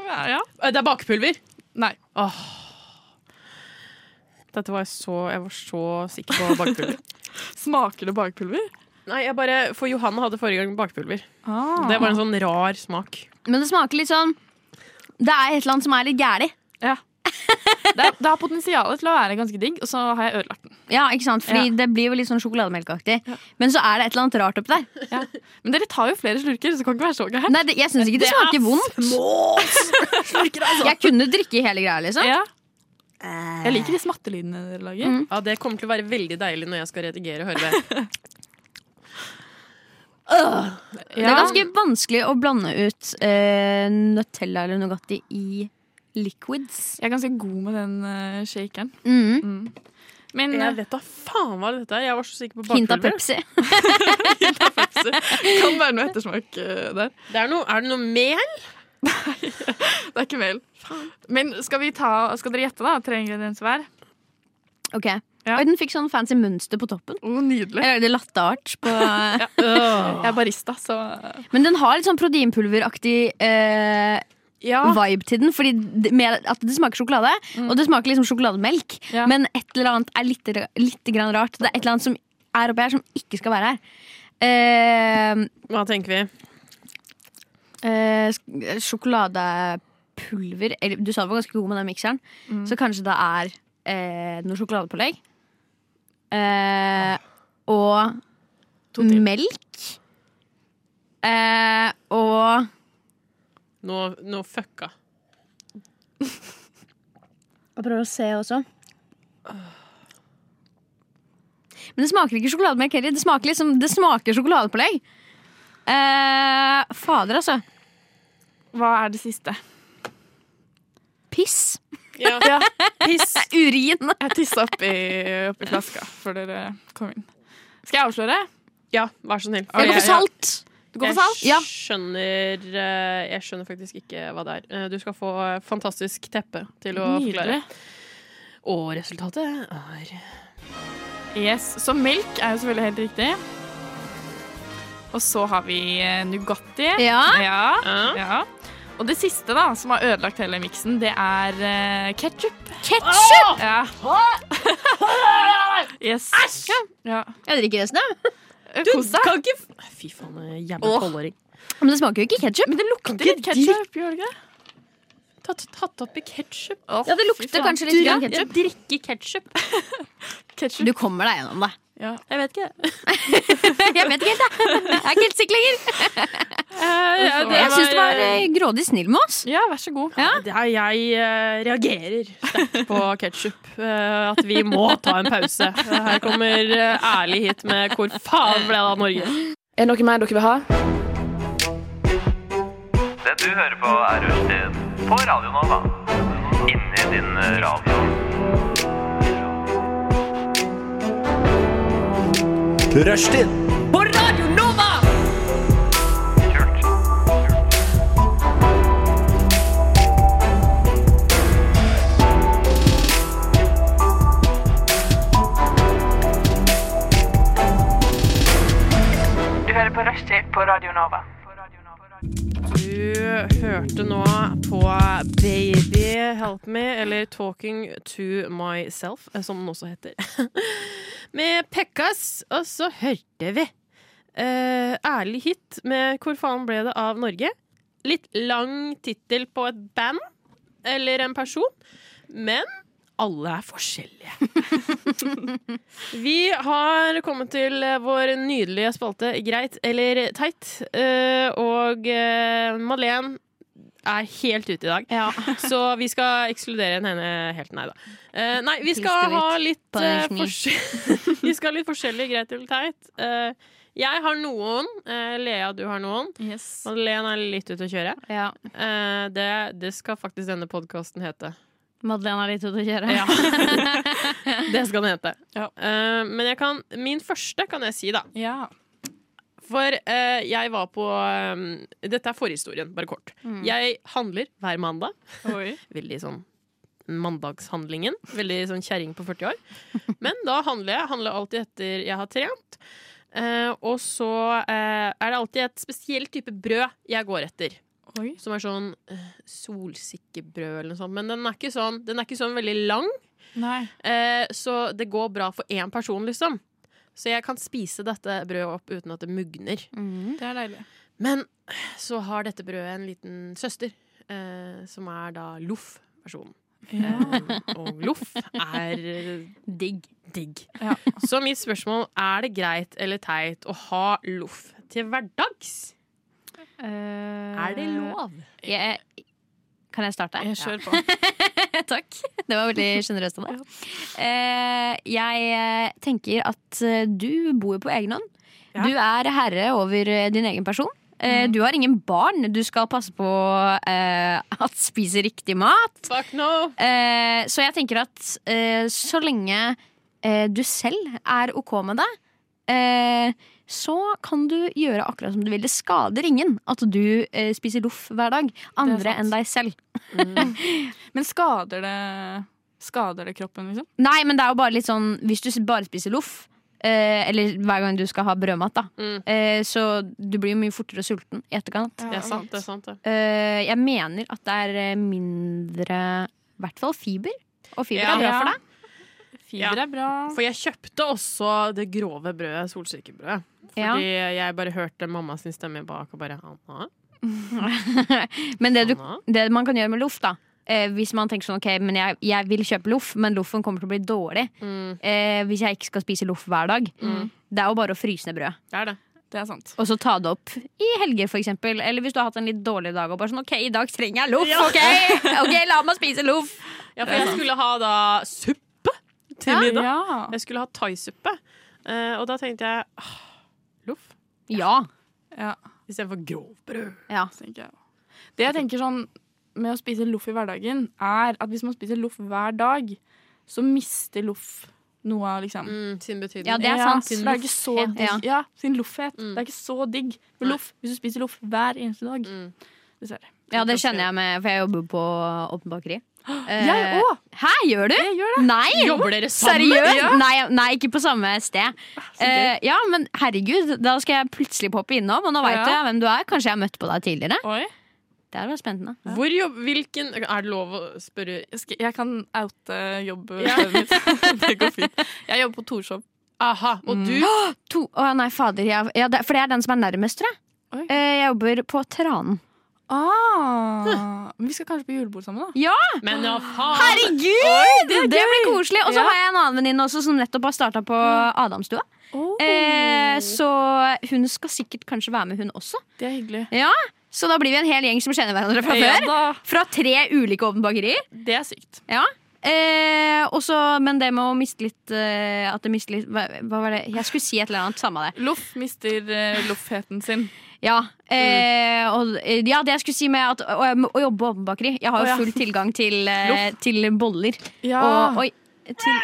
[SPEAKER 6] ja, ja.
[SPEAKER 4] Eh, Det er bakepulver.
[SPEAKER 6] Nei.
[SPEAKER 4] Dette var jeg så Jeg var så sikker på bakepulver.
[SPEAKER 6] Smaker det bakpulver?
[SPEAKER 4] Nei, jeg bare For Johanne hadde forrige gang bakepulver.
[SPEAKER 6] Ah.
[SPEAKER 4] Det var en sånn rar smak.
[SPEAKER 5] Men det smaker litt sånn Det er et eller annet som er litt gæli.
[SPEAKER 6] det, det har potensialet til å være ganske digg, og så har jeg ødelagt den.
[SPEAKER 5] Ja, ikke sant? Fordi det blir jo litt sånn sjokolademelkaktig. Men så er det et eller annet rart oppi der.
[SPEAKER 6] Men dere tar jo flere slurker, så det kan ikke være så gærent.
[SPEAKER 5] Nei, det, jeg syns ikke det, smaker vondt. Jeg kunne drikke hele greia, liksom.
[SPEAKER 6] Ja.
[SPEAKER 4] Eh.
[SPEAKER 6] Jeg liker de smattelydene dere lager.
[SPEAKER 5] Mm.
[SPEAKER 4] Ja, Det kommer til å være veldig deilig når jeg skal redigere og høre det.
[SPEAKER 5] Det er ganske vanskelig å blande ut eh, Nutella eller Nugatti i liquids.
[SPEAKER 6] Jeg er ganske god med den eh, shakeren.
[SPEAKER 5] Mm.
[SPEAKER 6] Men
[SPEAKER 4] Jeg
[SPEAKER 6] eh,
[SPEAKER 4] vet da faen hva dette er. Jeg var så sikker på
[SPEAKER 5] Hint av
[SPEAKER 4] bakepulver.
[SPEAKER 5] Pepsi.
[SPEAKER 6] det kan være noe ettersmak eh, der.
[SPEAKER 4] Det er, noe, er det noe mel?
[SPEAKER 6] Det er ikke mel. Men skal, vi ta, skal dere gjette, da? Tre ingredienser hver?
[SPEAKER 5] Ok.
[SPEAKER 6] Ja.
[SPEAKER 5] Oi, den fikk sånn fancy mønster på toppen.
[SPEAKER 6] Å, nydelig.
[SPEAKER 5] Jeg lagde latteart på
[SPEAKER 6] Jeg er barista, så
[SPEAKER 5] Men den har litt sånn proteinpulveraktig eh,
[SPEAKER 4] Ja.
[SPEAKER 6] Ah.
[SPEAKER 5] vibe til den. Fordi det, med at det smaker sjokolade, og det smaker liksom sjokolademelk.
[SPEAKER 6] Ja.
[SPEAKER 5] Men et eller annet er litt, litt grann rart. Det er et eller annet som er oppi her, som ikke skal være her. Eh,
[SPEAKER 4] Hva tenker vi?
[SPEAKER 5] eh, sk- sjokoladepulver eller, Du sa du var ganske god med den mikseren, så kanskje det er eh, noe sjokoladepålegg. Eh, og melk. Eh, og
[SPEAKER 4] Nå, nå fucka.
[SPEAKER 5] Jeg prøver å se også. Men det smaker ikke sjokolademelk heller. Det smaker, liksom, det smaker sjokoladepålegg. Eh, fader, altså.
[SPEAKER 6] hva er det siste?
[SPEAKER 5] Piss.
[SPEAKER 4] Ja. Piss.
[SPEAKER 5] Urin.
[SPEAKER 6] Jeg tissa oppi, oppi flaska før dere kom inn. Skal jeg avsløre?
[SPEAKER 4] Ja, vær så snill.
[SPEAKER 6] Jeg
[SPEAKER 5] Jeg går
[SPEAKER 6] ja,
[SPEAKER 5] for salt.
[SPEAKER 6] Du går for salt?
[SPEAKER 5] Ja.
[SPEAKER 4] Jeg skjønner, eh, jeg skjønner faktisk ikke hva det er. Eh, Du skal få eh, fantastisk teppe til å forklare.
[SPEAKER 6] Nydelig.
[SPEAKER 4] Og resultatet er
[SPEAKER 6] Yes, Så melk er jo selvfølgelig helt riktig. Og så har vi eh, Nugatti.
[SPEAKER 5] Ja.
[SPEAKER 6] Ja.
[SPEAKER 4] Ja.
[SPEAKER 6] ja. Og det siste da, som har ødelagt hele miksen, det er uh, ketsjup.
[SPEAKER 5] Ketchup.
[SPEAKER 6] Ja. Yes. Æsj! Ja.
[SPEAKER 5] Jeg drikker resten, jeg.
[SPEAKER 6] Kos deg.
[SPEAKER 4] kan ikke f- Fy faen, eh, jævla tolvåring.
[SPEAKER 5] Men det smaker jo ikke ketsjup.
[SPEAKER 6] Men det lukter litt ketsjup, gjør det ikke? det?
[SPEAKER 4] Tatt, tatt oppi ketsjup.
[SPEAKER 6] Åh,
[SPEAKER 5] Ja, det
[SPEAKER 6] fy
[SPEAKER 5] lukter
[SPEAKER 6] faen.
[SPEAKER 5] kanskje litt grann
[SPEAKER 4] Jeg
[SPEAKER 5] ketsjup.
[SPEAKER 4] drikker ketsjup.
[SPEAKER 6] Ketchup.
[SPEAKER 5] Du kommer deg gjennom det.
[SPEAKER 6] Ja.
[SPEAKER 4] Jeg vet ikke.
[SPEAKER 5] Jeg vet ikke helt, jeg. Jeg er ikke helt sikker lenger.
[SPEAKER 6] ja, det
[SPEAKER 5] Jeg syns du var eh, grådig snill med oss.
[SPEAKER 6] ja, vær så god.
[SPEAKER 4] Det er, jeg eh, reagerer sterkt på ketsjup. at vi må ta en pause. Her kommer eh, ærlig hit med 'Hvor faen ble det av Norge?'
[SPEAKER 6] Er det noe mer dere vil ha?
[SPEAKER 8] Det du hører på er Rushtid på Radio Nova. Inni din eh, radio.
[SPEAKER 2] Rushtid
[SPEAKER 8] Kult.
[SPEAKER 9] Du hører på Rushtid på Radio Nova.
[SPEAKER 4] Du hørte nå på Baby Help Me, eller Talking to Myself, eh, som den også heter, med Pekkas. Og så hørte vi eh, ærlig hit med 'Hvor faen ble det av Norge?' Litt lang tittel på et band eller en person, men alle er forskjellige. Vi har kommet til vår nydelige spalte Greit eller teit. eh, Og eh, Madeleine er helt ute i dag, så vi skal ekskludere henne helt. Nei da. Eh, Nei, vi skal
[SPEAKER 5] Pisker
[SPEAKER 4] ha litt, eh,
[SPEAKER 5] Punish me.
[SPEAKER 4] forskjell- vi skal ha litt forskjellig greit eller teit. Eh, Jeg har noen. eh, Lea, du har noen.
[SPEAKER 6] Yes.
[SPEAKER 4] Madeleine er litt ute å kjøre.
[SPEAKER 5] Ja.
[SPEAKER 4] Eh, Det, det skal faktisk denne podkasten hete.
[SPEAKER 5] Madeleine er litt ute å kjøre.
[SPEAKER 4] Ja. det skal den hete.
[SPEAKER 6] Ja.
[SPEAKER 4] Eh, men jeg kan, min første kan jeg si, da.
[SPEAKER 6] Ja.
[SPEAKER 4] For eh, jeg var på eh, Dette er forhistorien, bare kort. Jeg handler hver mandag.
[SPEAKER 6] Oi.
[SPEAKER 4] Veldig sånn mandagshandlingen. Veldig sånn kjerring på 40 år. Men da handler jeg. Handler alltid etter jeg har trent. Eh, og så eh, er det alltid et spesiell type brød jeg går etter.
[SPEAKER 6] Oi.
[SPEAKER 4] Som er sånn eh, solsikkebrød eller noe sånt. Men den er ikke sånn, den er ikke sånn veldig lang.
[SPEAKER 6] Nei.
[SPEAKER 4] Eh, så det går bra for én person, liksom. Så jeg kan spise dette brødet opp uten at det mugner.
[SPEAKER 6] Det er deilig.
[SPEAKER 4] Men så har dette brødet en liten søster, eh, som er da loff-versjonen. Eh, og loff er digg. digg.
[SPEAKER 6] Ja.
[SPEAKER 4] Så mitt spørsmål er det greit eller teit å ha loff til hverdags? Er det lov?
[SPEAKER 5] Eh, Jeg, kan jeg starte?
[SPEAKER 6] Eh, Jeg kjører på.
[SPEAKER 5] Takk. Det var veldig sjenerøst av deg. Eh, jeg eh, tenker at eh, du bor jo på egen hånd.
[SPEAKER 4] Ja.
[SPEAKER 5] Du er herre over eh, din egen person. Eh,
[SPEAKER 6] Mm.
[SPEAKER 5] Du har ingen barn. Du skal passe på eh, at spiser riktig mat.
[SPEAKER 4] Fuck no!
[SPEAKER 5] Eh, så jeg tenker at eh, så lenge eh, du selv er OK med det, eh, så kan du gjøre akkurat som du vil. Det skader ingen at du eh, spiser loff hver dag. Andre
[SPEAKER 6] sant. Mm.
[SPEAKER 5] enn deg selv.
[SPEAKER 6] Men skader det Skader det kroppen, liksom?
[SPEAKER 5] Nei, men det er jo bare litt sånn Hvis du bare spiser loff eh, Eller hver gang du skal ha brødmat da
[SPEAKER 4] Mm.
[SPEAKER 5] eh, Så du blir jo mye fortere sulten i etterkant
[SPEAKER 4] Det er sant, det er sant. Det.
[SPEAKER 5] eh, Jeg mener at det er eh, mindre I hvert fall fiber Og fiber
[SPEAKER 4] Ja.
[SPEAKER 5] er bra for deg
[SPEAKER 6] Fiber
[SPEAKER 4] Ja.
[SPEAKER 6] er bra.
[SPEAKER 4] For jeg kjøpte også det grove brødet, solsikkebrødet.
[SPEAKER 5] Ja.
[SPEAKER 4] Fordi jeg bare hørte mamma sin stemme bak og bare Anna,
[SPEAKER 5] Men det, du,
[SPEAKER 4] Anna.
[SPEAKER 5] det man kan gjøre med loff da eh, Hvis man tenker sånn, ok, men jeg, jeg vil kjøpe loff Men loffen kommer til å bli dårlig
[SPEAKER 4] Mm.
[SPEAKER 5] eh, Hvis jeg ikke skal spise loff hver dag Det er jo bare å fryse ned brød
[SPEAKER 4] Det er det.
[SPEAKER 6] Det er sant.
[SPEAKER 5] Og så ta det opp i helger, for eksempel. Eller hvis du har hatt en litt dårlig dag og bare sånn OK, i dag trenger jeg loff. ok, ok, la meg spise loff.
[SPEAKER 4] Ja, for jeg skulle ha da suppe til middag.
[SPEAKER 6] Ja.
[SPEAKER 4] Jeg skulle ha thaisuppe. Eh, og da tenkte jeg ah, loff
[SPEAKER 5] Ja.
[SPEAKER 6] ja.
[SPEAKER 4] istedenfor grovbrød.
[SPEAKER 6] tenker jeg. Det jeg tenker sånn med å spise loff i hverdagen, er at hvis man spiser loff hver dag, så mister loff noe av liksom
[SPEAKER 4] Mm, sin betydning.
[SPEAKER 5] Ja, det er
[SPEAKER 6] ja,
[SPEAKER 5] sant.
[SPEAKER 6] så Det er ikke så
[SPEAKER 5] Loffhet,
[SPEAKER 6] digg.
[SPEAKER 5] ja.
[SPEAKER 6] Ja. sin loffhet.
[SPEAKER 4] Mm.
[SPEAKER 6] Det er ikke så digg med
[SPEAKER 4] Nei.
[SPEAKER 6] loff hvis du spiser loff hver eneste dag.
[SPEAKER 4] Mm.
[SPEAKER 6] Dessverre.
[SPEAKER 5] Ja, det kjenner jeg med, for jeg jobber på åpent bakeri. Eh,
[SPEAKER 6] Jeg òg!
[SPEAKER 5] Hæ, gjør du?
[SPEAKER 6] Jeg gjør det.
[SPEAKER 5] Nei!
[SPEAKER 4] Jobber dere sammen?
[SPEAKER 5] Seriøst? Nei, nei, ikke på samme sted.
[SPEAKER 6] Så gøy.
[SPEAKER 5] Eh, ja, men herregud, da skal jeg plutselig poppe innom, og nå veit
[SPEAKER 6] Ja.
[SPEAKER 5] jeg hvem du er. Kanskje jeg har møtt på deg tidligere.
[SPEAKER 6] Oi.
[SPEAKER 5] Det hadde vært spennende.
[SPEAKER 4] Hvor jobb, hvilken Er det lov å spørre
[SPEAKER 6] Jeg, skal, jeg kan oute jobben mitt. det går fint. Jeg jobber på Torshov.
[SPEAKER 4] Aha, og du
[SPEAKER 6] Ah!
[SPEAKER 5] To, å nei, fader. Jeg, ja, det, for det er den som er nærmest, tror jeg.
[SPEAKER 6] Oi.
[SPEAKER 5] Eh, jeg jobber på Tranen.
[SPEAKER 6] Ah, men vi skal kanskje på julebord sammen, da.
[SPEAKER 4] Men ja, faen!
[SPEAKER 5] Herregud! det, det blir koselig. Og så har jeg en annen venninne også som nettopp har starta på Adamstua. Eh,
[SPEAKER 6] Mm.
[SPEAKER 5] så hun skal sikkert kanskje være med, hun også.
[SPEAKER 6] Det er hyggelig.
[SPEAKER 5] Så da blir vi en hel gjeng som kjenner hverandre fra
[SPEAKER 6] Ja
[SPEAKER 5] før.
[SPEAKER 6] da.
[SPEAKER 5] Fra tre ulike åpne bakerier.
[SPEAKER 6] Det er sykt.
[SPEAKER 5] Eh, også- men det med å miste litt eh, At det mister litt hva, hva var det? Jeg skulle si et eller annet, samme det.
[SPEAKER 6] Loff mister eh, loffheten sin.
[SPEAKER 5] Ja, eh, og, eh, ja, det jeg skulle si med at, å, jeg må- å jobbe på åpen bakeri. Jeg har
[SPEAKER 6] Å,
[SPEAKER 5] jo
[SPEAKER 6] ja.
[SPEAKER 5] full tilgang til, eh, til boller. Og, oi, til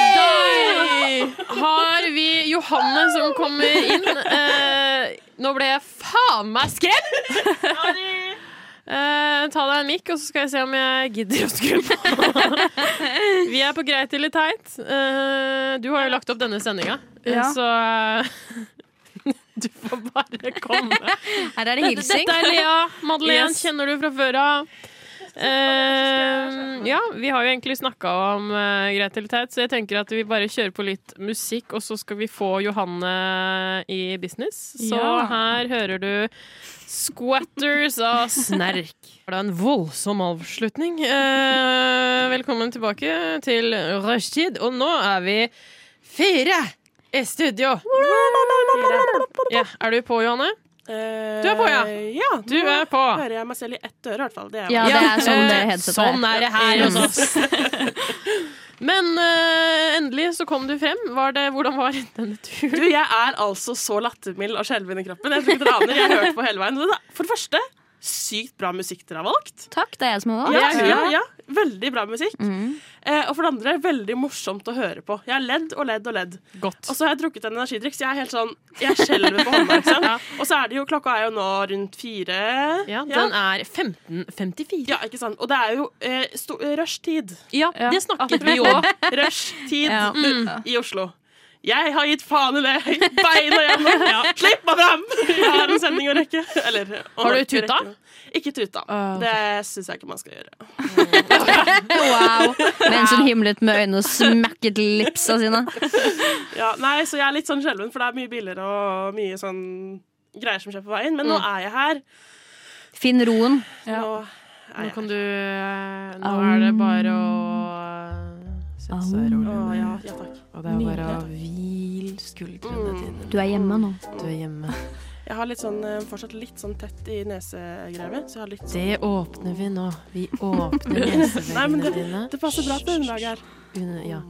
[SPEAKER 4] Der har vi Johanne som kommer inn. Eh, nå ble jeg faen meg skremt! Eh, ta deg en mikk, og så skal jeg se om jeg gidder å skru på. vi er på greit eller teit. Eh, du har jo lagt opp denne sendinga,
[SPEAKER 6] Ja.
[SPEAKER 4] så eh, du får bare komme.
[SPEAKER 5] Her er det hilsing.
[SPEAKER 4] Dette er Lea. Madeleine
[SPEAKER 6] Yes.
[SPEAKER 4] kjenner du fra før av. Eh, ja, vi har jo egentlig snakka om eh, greit eller teit, så jeg tenker at vi bare kjører på litt musikk, og så skal vi få Johanne i business. Så
[SPEAKER 6] Ja.
[SPEAKER 4] her hører du Squatters av Snerk. Det er en voldsom avslutning. Eh, velkommen tilbake til rushtid, og nå er vi fire i studio. Ja, er du på, Johanne? Du er på, Eh, ja. Du er på.
[SPEAKER 10] hører jeg meg selv i ett øre, i hvert fall. Det er
[SPEAKER 5] Ja, det er sånn det
[SPEAKER 4] eh,
[SPEAKER 5] headsetet
[SPEAKER 4] sånn
[SPEAKER 5] er.
[SPEAKER 4] er det her hos oss. Men eh, endelig så kom du frem. Var det, hvordan var denne
[SPEAKER 10] Du,
[SPEAKER 4] turen?
[SPEAKER 10] jeg er altså så lattermild og skjelven i kroppen. Jeg tror ikke dere aner. Jeg har hørt på hele veien. Og det er- For det første, sykt bra musikk dere har valgt.
[SPEAKER 5] Takk, det er jeg som har valgt.
[SPEAKER 10] Ja, ja, ja. Veldig bra musikk.
[SPEAKER 4] Mhm.
[SPEAKER 10] Eh, og for det andre, veldig morsomt å høre på. Jeg har ledd og ledd og ledd.
[SPEAKER 4] Godt.
[SPEAKER 10] Og så har jeg drukket en energidrikk, så jeg er helt sånn Jeg skjelver på hånda. ikke sant? Og så er det jo Klokka er jo nå rundt fire.
[SPEAKER 4] Ja,
[SPEAKER 10] ja.
[SPEAKER 4] den er 15.54.
[SPEAKER 10] Ja, ikke sant. Og det er jo eh, sto- eh, rushtid.
[SPEAKER 4] Ja,
[SPEAKER 6] Ja.
[SPEAKER 4] det snakket vi om.
[SPEAKER 10] Rushtid
[SPEAKER 5] Ja.
[SPEAKER 4] Mm.
[SPEAKER 10] i Oslo. Jeg har gitt faen i det! Beina gjennom! Slipp meg fram! Jeg har en sending å rekke. Eller, å
[SPEAKER 4] Har du
[SPEAKER 10] rekke-
[SPEAKER 4] tuta? Ah.
[SPEAKER 10] rekke. Ikke tuta. Det syns jeg ikke man skal gjøre.
[SPEAKER 5] Wow. Mens hun himlet med øynene og smakket lipsa sine.
[SPEAKER 10] Ja, nei, så jeg er litt sånn skjelven, for det er mye biler og mye sånn greier som skjer på veien. Men nå er jeg her.
[SPEAKER 5] Finn roen.
[SPEAKER 6] Ja.
[SPEAKER 10] Nå
[SPEAKER 4] Mm. Nå
[SPEAKER 10] er jeg
[SPEAKER 4] kan du eh, Nå er det bare å eh, Sette seg rolig
[SPEAKER 10] Å, ja,
[SPEAKER 4] ned.
[SPEAKER 10] ja, takk.
[SPEAKER 4] Og det er bare å hvile skuldrene
[SPEAKER 10] Mm.
[SPEAKER 4] dine.
[SPEAKER 5] Du er hjemme nå.
[SPEAKER 4] Du er hjemme.
[SPEAKER 10] Jeg har litt sånn, eh, fortsatt litt sånn tett i nesegreiene. Så jeg har litt sånn
[SPEAKER 4] Det åpner vi nå. Vi åpner neseveggene dine.
[SPEAKER 10] Det passer bra til underlaget her.
[SPEAKER 4] Under, ja.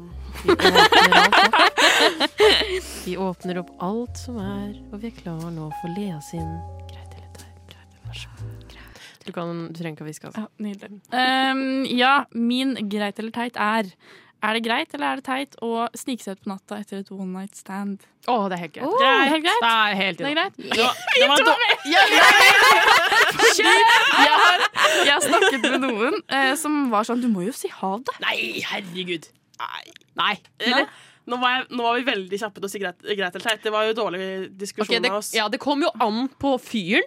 [SPEAKER 4] Vi åpner, alt opp. vi åpner opp alt som er, og vi er klar nå for Lea sin Greit eller teit? Greit eller vær så god. Du, kan, du trenger ikke å hviske, altså.
[SPEAKER 6] Ja, nydelig. Ehm, ja, min greit eller teit er Er det greit eller er det teit å snike seg ut på natta etter et one night stand?
[SPEAKER 4] Å, det er helt greit.
[SPEAKER 6] Det er helt greit.
[SPEAKER 4] Det er helt
[SPEAKER 6] Det er greit.
[SPEAKER 10] Det var, det var dårlig.
[SPEAKER 6] Jeg har, jeg har snakket med noen eh, som var sånn Du må jo si ha det.
[SPEAKER 10] Nei, herregud. Nei.
[SPEAKER 4] Nei.
[SPEAKER 10] Eller, nå, var jeg, nå var vi veldig kjappe til å si greit, greit eller teit. Det var jo dårlig diskusjon
[SPEAKER 4] Ok, det,
[SPEAKER 10] med oss.
[SPEAKER 4] ja, det kom jo an på fyren.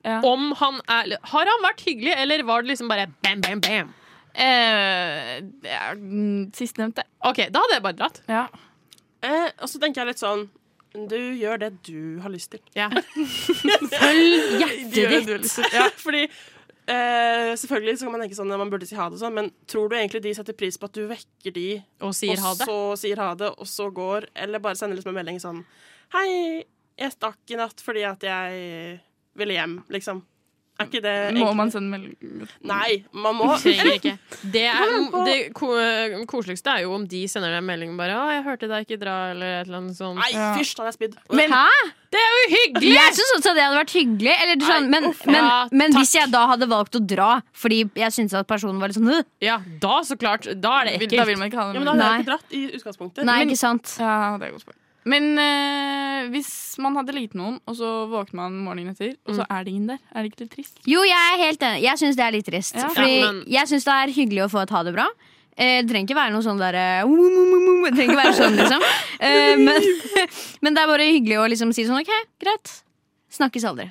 [SPEAKER 6] Ja.
[SPEAKER 4] Om han er Har han vært hyggelig, eller var det liksom bare bam, bam, bam?
[SPEAKER 6] Eh, det er den sistnevnte.
[SPEAKER 4] OK, da hadde jeg bare dratt.
[SPEAKER 6] Ja.
[SPEAKER 10] Eh, og så tenker jeg litt sånn Du gjør det du har lyst til.
[SPEAKER 4] Følg
[SPEAKER 10] Du gjør det
[SPEAKER 4] hjertet
[SPEAKER 10] du har lyst til. Ja, fordi eh, selvfølgelig så kan man tenke sånn man burde si ha det og sånn, men tror du egentlig de setter pris på at du vekker de,
[SPEAKER 4] Og sier ha
[SPEAKER 10] og
[SPEAKER 4] det.
[SPEAKER 10] så sier ha det, og så går, eller bare sender liksom en melding sånn Hei, jeg stakk i natt fordi at jeg ville hjem, liksom. Er ikke det
[SPEAKER 6] Må
[SPEAKER 10] egentlig-
[SPEAKER 6] man sende melding?
[SPEAKER 10] Nei, man må.
[SPEAKER 4] Trenger ikke. Det, er,
[SPEAKER 10] Kommer an på-
[SPEAKER 4] det ko eh, koseligste er jo om de sender deg en melding bare 'Å, jeg hørte deg ikke dra', eller et eller annet sånt.
[SPEAKER 10] Nei, fysj, han er spydd.
[SPEAKER 5] Hæ?
[SPEAKER 4] Det er jo hyggelig!
[SPEAKER 5] Jeg syns også det hadde vært hyggelig, eller sånn, men, men,
[SPEAKER 4] Ja,
[SPEAKER 5] men
[SPEAKER 4] takk.
[SPEAKER 5] hvis jeg da hadde valgt å dra fordi jeg syntes at personen var litt sånn «Øh»,
[SPEAKER 4] Ja, da så klart. Da er det
[SPEAKER 6] Vil- Da
[SPEAKER 4] ekkelt.
[SPEAKER 6] vil man ikke ha
[SPEAKER 10] Ja,
[SPEAKER 6] det
[SPEAKER 10] men
[SPEAKER 6] med.
[SPEAKER 10] da hadde
[SPEAKER 5] Nei.
[SPEAKER 10] jeg ikke dratt i utgangspunktet.
[SPEAKER 5] Nei,
[SPEAKER 10] men,
[SPEAKER 5] ikke sant.
[SPEAKER 6] Ja, det er et godt spørsmål. Men eh, hvis man hadde ligget med noen, og så våkner man morgenen etter, og så er det ingen der, er det ikke litt trist?
[SPEAKER 5] Jo, jeg er helt enig. Jeg syns det er litt trist.
[SPEAKER 6] Ja.
[SPEAKER 5] Fordi
[SPEAKER 4] Ja, men-
[SPEAKER 5] jeg syns det er hyggelig å få et ha det bra. Eh, Det trenger ikke være noe sånn derre Det trenger ikke være sånn, liksom. Eh, Men, men det er bare hyggelig å liksom si sånn OK, greit. Snakkes aldri.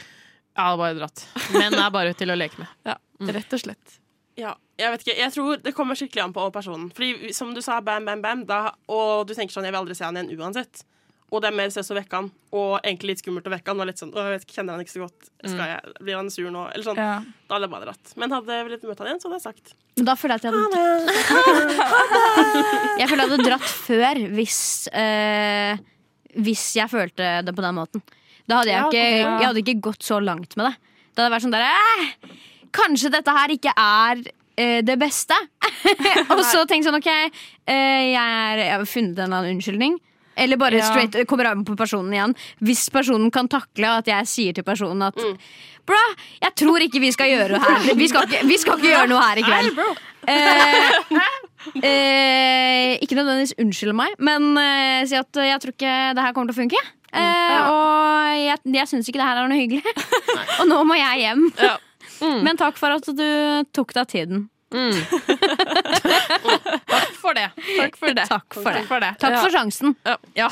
[SPEAKER 4] Jeg hadde bare dratt. Menn er bare til å leke med.
[SPEAKER 6] Ja, rett og slett.
[SPEAKER 10] ja, jeg vet ikke. Jeg tror det kommer skikkelig an på personen. Fordi som du sa, bam, bam, bam, da, og du tenker sånn Jeg vil aldri se han igjen uansett. Og det er mer stress å vekke han, og egentlig litt skummelt å vekke han. Og litt sånn, «Åh, jeg vet ikke, kjenner han ikke så godt. Skal jeg, blir han sur nå? Eller sånn.
[SPEAKER 6] Ja.
[SPEAKER 10] Da hadde jeg bare dratt. Men hadde jeg villet møte han igjen, så hadde jeg sagt
[SPEAKER 5] Men da føler jeg at jeg hadde, jeg føler jeg hadde dratt før hvis eh, Hvis jeg følte det på den måten. Da hadde jeg,
[SPEAKER 10] Ja,
[SPEAKER 5] ikke,
[SPEAKER 6] ja.
[SPEAKER 5] jeg hadde ikke gått så langt med det. Da hadde jeg vært sånn der eh, Kanskje dette her ikke er eh, det beste. og så tenkt sånn OK, eh, jeg, er, jeg har funnet en eller annen unnskyldning. Eller bare
[SPEAKER 6] Ja.
[SPEAKER 5] straight eh, kommer an på personen igjen. Hvis personen kan takle at jeg sier til personen at
[SPEAKER 6] Mm.
[SPEAKER 5] Bra, jeg tror ikke vi skal gjøre det her. Vi skal ikke, vi skal ikke gjøre noe her i kveld. Eh, eh, ikke nødvendigvis unnskylde meg, men eh, si at eh, jeg tror ikke det her kommer til å funke. Eh,
[SPEAKER 6] Mm.
[SPEAKER 5] Og jeg, jeg syns ikke det her er noe hyggelig. og nå må jeg hjem.
[SPEAKER 6] Ja. Mm.
[SPEAKER 5] Men takk for at du tok deg tiden.
[SPEAKER 4] Takk for det.
[SPEAKER 6] Takk for det.
[SPEAKER 5] Takk for det.
[SPEAKER 6] for det.
[SPEAKER 5] Takk for sjansen.
[SPEAKER 6] Ja.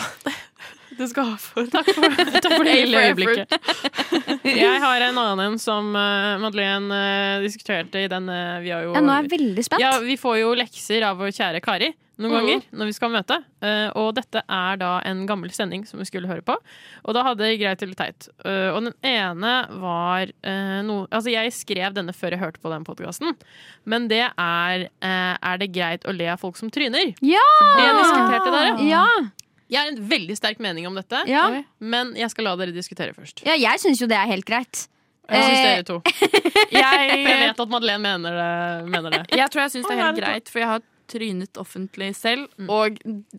[SPEAKER 6] Du skal ha for
[SPEAKER 4] Takk for, takk for det lille
[SPEAKER 6] Hey, for
[SPEAKER 4] øyeblikket. Jeg har en annen en som eh, Madeleine eh, diskuterte i den eh, Vi har jo
[SPEAKER 5] Ja, nå er jeg veldig spent.
[SPEAKER 4] Ja, vi får jo lekser av vår kjære Kari
[SPEAKER 5] Mm.
[SPEAKER 4] noen ganger når vi skal møte. Eh, og dette er da en gammel sending som vi skulle høre på. Og da hadde jeg greit eller teit. Eh, og den ene var eh, noe Altså, jeg skrev denne før jeg hørte på den podkasten, men det er eh, Er det greit å le av folk som tryner?
[SPEAKER 5] Ja!
[SPEAKER 4] For det diskuterte dere.
[SPEAKER 5] Ja,
[SPEAKER 4] Jeg har en veldig sterk mening om dette,
[SPEAKER 5] ja.
[SPEAKER 4] men jeg skal la dere diskutere først.
[SPEAKER 5] ja jeg syns jo det er helt greit.
[SPEAKER 4] Hva syns
[SPEAKER 5] Eh,
[SPEAKER 4] dere to? For jeg vet at Madeleine mener det. Mener det.
[SPEAKER 6] Jeg tror jeg syns det er
[SPEAKER 10] Å,
[SPEAKER 6] helt
[SPEAKER 10] er det
[SPEAKER 6] greit, for jeg har trynet offentlig selv.
[SPEAKER 4] Mm.
[SPEAKER 6] Og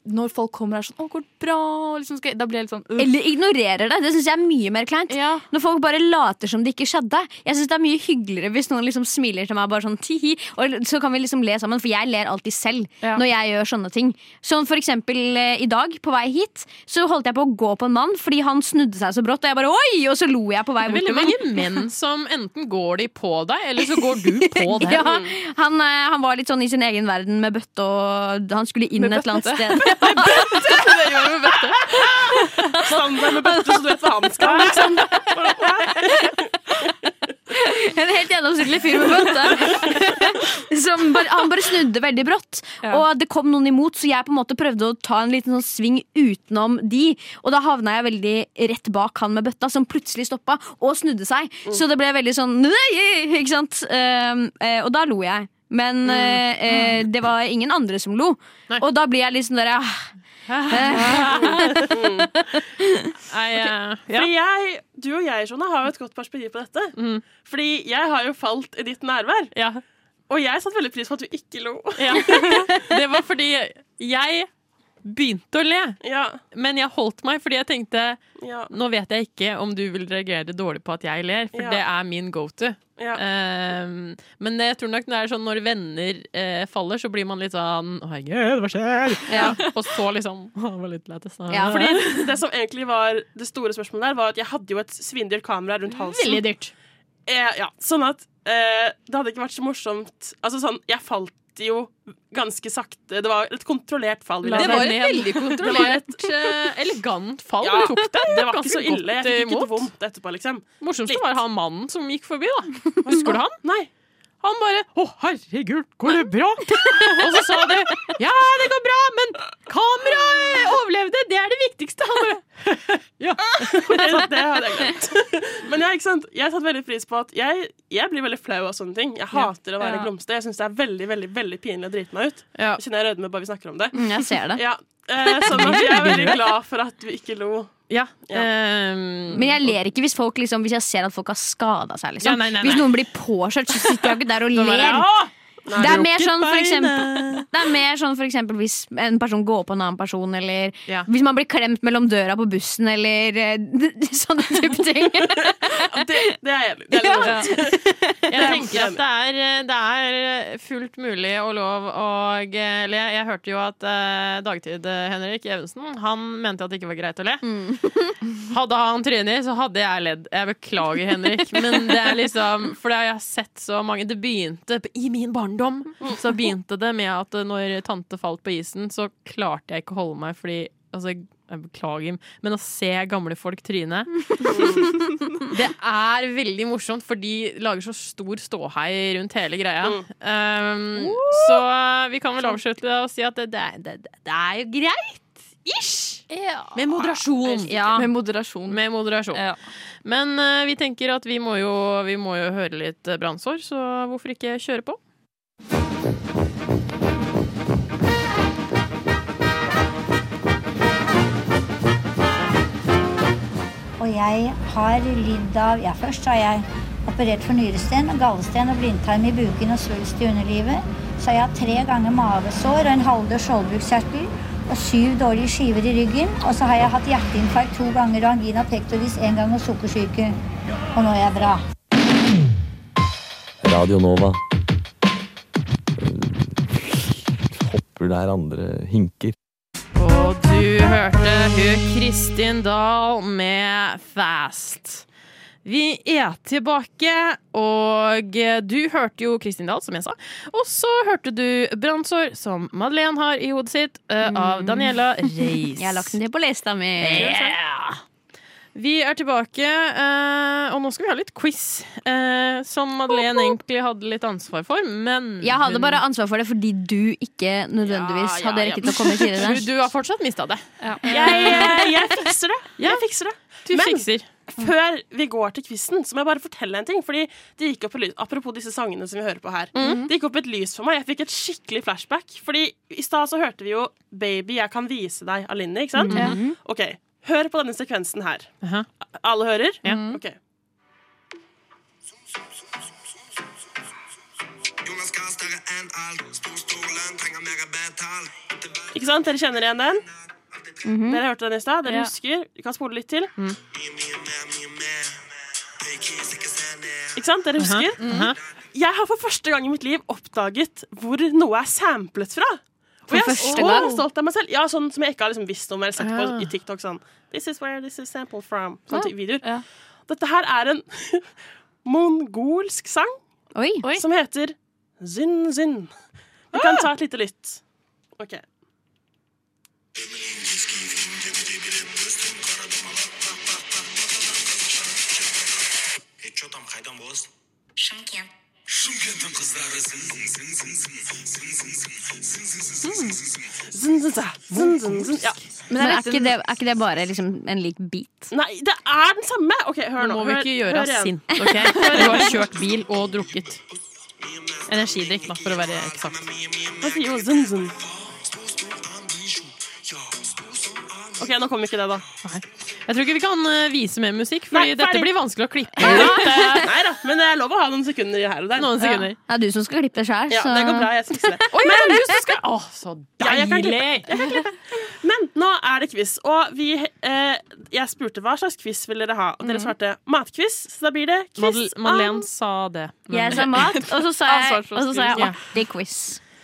[SPEAKER 6] når folk kommer og er sånn 'Å, går det bra?' og Liksom skal, da blir jeg litt sånn «Øh».
[SPEAKER 5] Eller ignorerer det. Det syns jeg er mye mer kleint.
[SPEAKER 6] ja.
[SPEAKER 5] Når folk bare later som det ikke skjedde. Jeg synes Det er mye hyggeligere hvis noen liksom smiler til meg, bare sånn tihi, og så kan vi liksom le sammen. For jeg ler alltid selv
[SPEAKER 6] Ja.
[SPEAKER 5] når jeg gjør sånne ting. Sånn for eksempel eh, i dag, på vei hit, så holdt jeg på å gå på en mann fordi han snudde seg så brått, og jeg bare oi! Og så lo jeg på vei
[SPEAKER 4] Det er
[SPEAKER 5] bort
[SPEAKER 4] veldig
[SPEAKER 5] til ham.
[SPEAKER 4] mange menn som enten går de på deg, eller så går du på dem.
[SPEAKER 5] Ja, han, eh, han var litt sånn i sin egen verden med bøtte, og han skulle inn et eller annet sted.
[SPEAKER 10] Standard med bøtte, så du vet hva han skal. Liksom.
[SPEAKER 5] En helt gjennomsnittlig fyr med bøtte. Som bare, han bare snudde veldig brått,
[SPEAKER 6] Ja.
[SPEAKER 5] og det kom noen imot, så jeg på en måte prøvde å ta en liten sånn sving utenom de. Og da havna jeg veldig rett bak han med bøtta, som plutselig stoppa og snudde seg. Så det ble veldig sånn «Nei!» Ikke sant? Um, eh, og da lo jeg. Men eh, eh, det var ingen andre som lo.
[SPEAKER 4] Nei.
[SPEAKER 5] Og da blir jeg litt sånn der ah,
[SPEAKER 4] Nei, eh, ja.
[SPEAKER 10] Fordi jeg, du og jeg, Jonna, har jo et godt perspektiv på dette. Fordi jeg har jo falt i ditt nærvær.
[SPEAKER 4] Ja.
[SPEAKER 10] Og jeg satte veldig pris på at du ikke lo.
[SPEAKER 4] Ja. Det var fordi jeg begynte å le,
[SPEAKER 10] Ja,
[SPEAKER 4] men jeg holdt meg fordi jeg tenkte
[SPEAKER 10] ja,
[SPEAKER 4] nå vet jeg ikke om du vil reagere dårlig på at jeg ler, for
[SPEAKER 10] Ja.
[SPEAKER 4] det er min go to.
[SPEAKER 10] ja.
[SPEAKER 4] Ehm, men jeg tror nok det er sånn når venner eh, faller, så blir man litt sånn Å, herregud, hva skjer?
[SPEAKER 5] Ja.
[SPEAKER 4] Og så liksom Å, det var litt lættis. da».
[SPEAKER 5] Ja,
[SPEAKER 10] Fordi det som egentlig var det store spørsmålet der, var at jeg hadde jo et svindyrt kamera rundt halsen.
[SPEAKER 4] Veldig dyrt.
[SPEAKER 10] Eh, ja, sånn at eh, det hadde ikke vært så morsomt Altså sånn, jeg falt jo ganske sakte. Det var et kontrollert fall. Liksom.
[SPEAKER 4] Det
[SPEAKER 10] vil jeg si.
[SPEAKER 4] var et veldig kontrollert, eh, elegant fall.
[SPEAKER 10] Ja,
[SPEAKER 4] du tok det.
[SPEAKER 10] det var ikke
[SPEAKER 4] ganske
[SPEAKER 10] så ille. Jeg
[SPEAKER 4] godt eh,
[SPEAKER 10] fikk ikke
[SPEAKER 4] imot.
[SPEAKER 10] vondt etterpå, liksom.
[SPEAKER 4] Morsomst
[SPEAKER 10] Litt.
[SPEAKER 4] var han mannen som gikk forbi, da. Husker du han?
[SPEAKER 10] Nei.
[SPEAKER 4] Han bare 'Å, herregud, går det bra?' Og så sa du 'Ja, det går bra, men kameraet overlevde. Det er det viktigste.' Han bare
[SPEAKER 10] Det, det hadde jeg glemt. Men ja, ikke sant? jeg satte veldig pris på at jeg, jeg blir veldig flau av sånne ting. Jeg hater å være
[SPEAKER 6] Ja.
[SPEAKER 10] glumsete. Jeg syns det er veldig veldig, veldig pinlig å drite meg ut.
[SPEAKER 4] Ja.
[SPEAKER 10] Jeg kjenner jeg rødmer bare vi snakker om det.
[SPEAKER 5] mm, Jeg ser det.
[SPEAKER 10] Ja, eh, sånn at jeg er veldig glad for at vi ikke lo.
[SPEAKER 4] Ja.
[SPEAKER 10] Ja.
[SPEAKER 4] ehm,
[SPEAKER 5] Men jeg ler ikke hvis, folk, liksom, hvis jeg ser at folk har skada seg. Liksom.
[SPEAKER 4] Ja, nei, nei, nei.
[SPEAKER 5] Hvis noen blir påkjørt, så sitter jeg ikke der og
[SPEAKER 4] bare,
[SPEAKER 5] ler.
[SPEAKER 4] «Å,
[SPEAKER 5] Det er mer sånn for eksempel, det er mer sånn for eksempel hvis en person går på en annen person, eller
[SPEAKER 10] Ja.
[SPEAKER 5] hvis man blir klemt mellom døra på bussen, eller eh, d- d- sånne type ting.
[SPEAKER 10] Det, det er jeg enig i. Det er litt morsomt.
[SPEAKER 4] Jeg tenker at det er, eh, det er fullt mulig og lov å le. Jeg hørte jo at eh, dagtid-Henrik Evensen Han mente at det ikke var greit å le. Hadde han trynet i, så hadde jeg ledd. Jeg beklager, Henrik. Men det er liksom For det har jeg sett så mange Det begynte i min barndom. Så begynte det med at når tante falt på isen, så klarte jeg ikke å holde meg fordi Altså, jeg beklager, men å se gamle folk tryne det er veldig morsomt, for de lager så stor ståhei rundt hele greia. Um, Så eh, vi kan vel avslutte og si at det, det, er- det, det- det er jo greit. Ish! Med moderasjon.
[SPEAKER 6] Med moderasjon.
[SPEAKER 4] Med moderasjon.
[SPEAKER 6] Ja.
[SPEAKER 4] Men eh, vi tenker at vi må jo, vi må jo høre litt eh, brannsår, så hvorfor ikke kjøre på?
[SPEAKER 11] Og jeg har lidd av Ja, først har jeg operert for nyresten, gallesten og blindtarm i buken og svulst i underlivet. Så har jeg hatt tre ganger mavesår og en halvdød skjoldbruskkjertel og syv dårlige skiver i ryggen. Og så har jeg hatt hjerteinfarkt to ganger og angina pectoris én gang og sukkersyke. Og nå er jeg bra.
[SPEAKER 12] Radio Nova. Mm, Hopper der andre hinker.
[SPEAKER 4] Og du hørte hun Kristin Dahl med Fast. Vi er tilbake, og du hørte jo Kristin Dahl, som jeg sa. Og så hørte du brannsår, som Madeleine har i hodet sitt, eh, av Daniela Reis.
[SPEAKER 5] Mm. Jeg har lagt den til på lista mi.
[SPEAKER 4] Yeah. Vi er tilbake, eh, og nå skal vi ha litt quiz. eh, som Madeleine egentlig hadde litt ansvar for, men
[SPEAKER 5] Jeg hadde
[SPEAKER 4] hun-
[SPEAKER 5] bare ansvar for det fordi du ikke nødvendigvis
[SPEAKER 4] Ja,
[SPEAKER 5] hadde
[SPEAKER 4] ja,
[SPEAKER 5] rekket
[SPEAKER 4] ja.
[SPEAKER 5] å komme tidligere.
[SPEAKER 4] Du, du har fortsatt mista det.
[SPEAKER 10] Jeg, eh, jeg fikser det.
[SPEAKER 4] Ja.
[SPEAKER 10] Jeg fikser det.
[SPEAKER 4] Du
[SPEAKER 10] Men-
[SPEAKER 4] fikser.
[SPEAKER 10] Før vi går til quizen, så må jeg bare fortelle en ting. Fordi det gikk opp et lys, Apropos disse sangene som vi hører på her.
[SPEAKER 4] Mhm.
[SPEAKER 10] Det gikk opp et lys for meg. Jeg fikk et skikkelig flashback. Fordi i stad så hørte vi jo 'Baby, jeg kan vise deg' av Linni, ikke sant?
[SPEAKER 4] Mhm.
[SPEAKER 10] OK, hør på denne sekvensen her. Alle hører?
[SPEAKER 4] Ja.
[SPEAKER 10] OK. Ikke sant? Dere kjenner igjen den? Dere hørte den i stad? Dere
[SPEAKER 4] Mhm. Ja. Mm.
[SPEAKER 10] husker? Vi kan spole litt til. Ikke sant? Dere husker?
[SPEAKER 4] Mhm.
[SPEAKER 10] Jeg har for første gang i mitt liv oppdaget hvor noe er samplet fra. Og
[SPEAKER 4] For
[SPEAKER 10] jeg er
[SPEAKER 4] første
[SPEAKER 10] så
[SPEAKER 4] gang?
[SPEAKER 10] stolt av meg selv. Ja, sånn som jeg ikke har liksom visst om eller sett på
[SPEAKER 4] Ah.
[SPEAKER 10] i TikTok. Sånn This is where this is sampled from.
[SPEAKER 4] Ah.
[SPEAKER 10] Sånne type videoer. Dette her er en mongolsk sang som heter Zin Zin. Vi kan ta et lite lytt. OK. Zin Zin Za. Zin Zin Zin. Ja.
[SPEAKER 5] Men er ikke det, er ikke det bare liksom en lik bit?
[SPEAKER 10] Nei, det er den samme! OK, hør
[SPEAKER 4] Nå
[SPEAKER 10] nå.
[SPEAKER 4] må vi
[SPEAKER 10] Hør-
[SPEAKER 4] ikke gjøre
[SPEAKER 10] hør
[SPEAKER 4] oss
[SPEAKER 10] igjen.
[SPEAKER 4] sinte, OK? Du har kjørt bil og drukket. Energidrikk, da, for å være eksakt.
[SPEAKER 10] Hva sier jo Zin Zin? OK, nå kommer ikke det, da.
[SPEAKER 4] Jeg tror ikke vi kan eh, vise mer musikk, for
[SPEAKER 10] Nei,
[SPEAKER 4] dette
[SPEAKER 10] ferdig.
[SPEAKER 4] blir vanskelig å klippe.
[SPEAKER 10] Nei da, men det er lov å ha noen sekunder her og der.
[SPEAKER 4] Noen sekunder.
[SPEAKER 5] Det er du som skal klippe det sjøl,
[SPEAKER 10] Ja, det går bra. Jeg skal fikse det.
[SPEAKER 4] Oi, men, du som skal... Åh, så
[SPEAKER 10] Ja, jeg kan
[SPEAKER 4] deilig!
[SPEAKER 10] klippe. Men nå er det quiz, og vi eh, Jeg spurte hva slags quiz vil dere ha, og dere svarte matquiz, så da blir det quiz.
[SPEAKER 4] Mhm. Madel- Madeleine sa det.
[SPEAKER 5] Jeg
[SPEAKER 10] sånn,
[SPEAKER 5] sa mat, og så sa jeg, og så sa jeg
[SPEAKER 4] Ja.
[SPEAKER 5] artig quiz.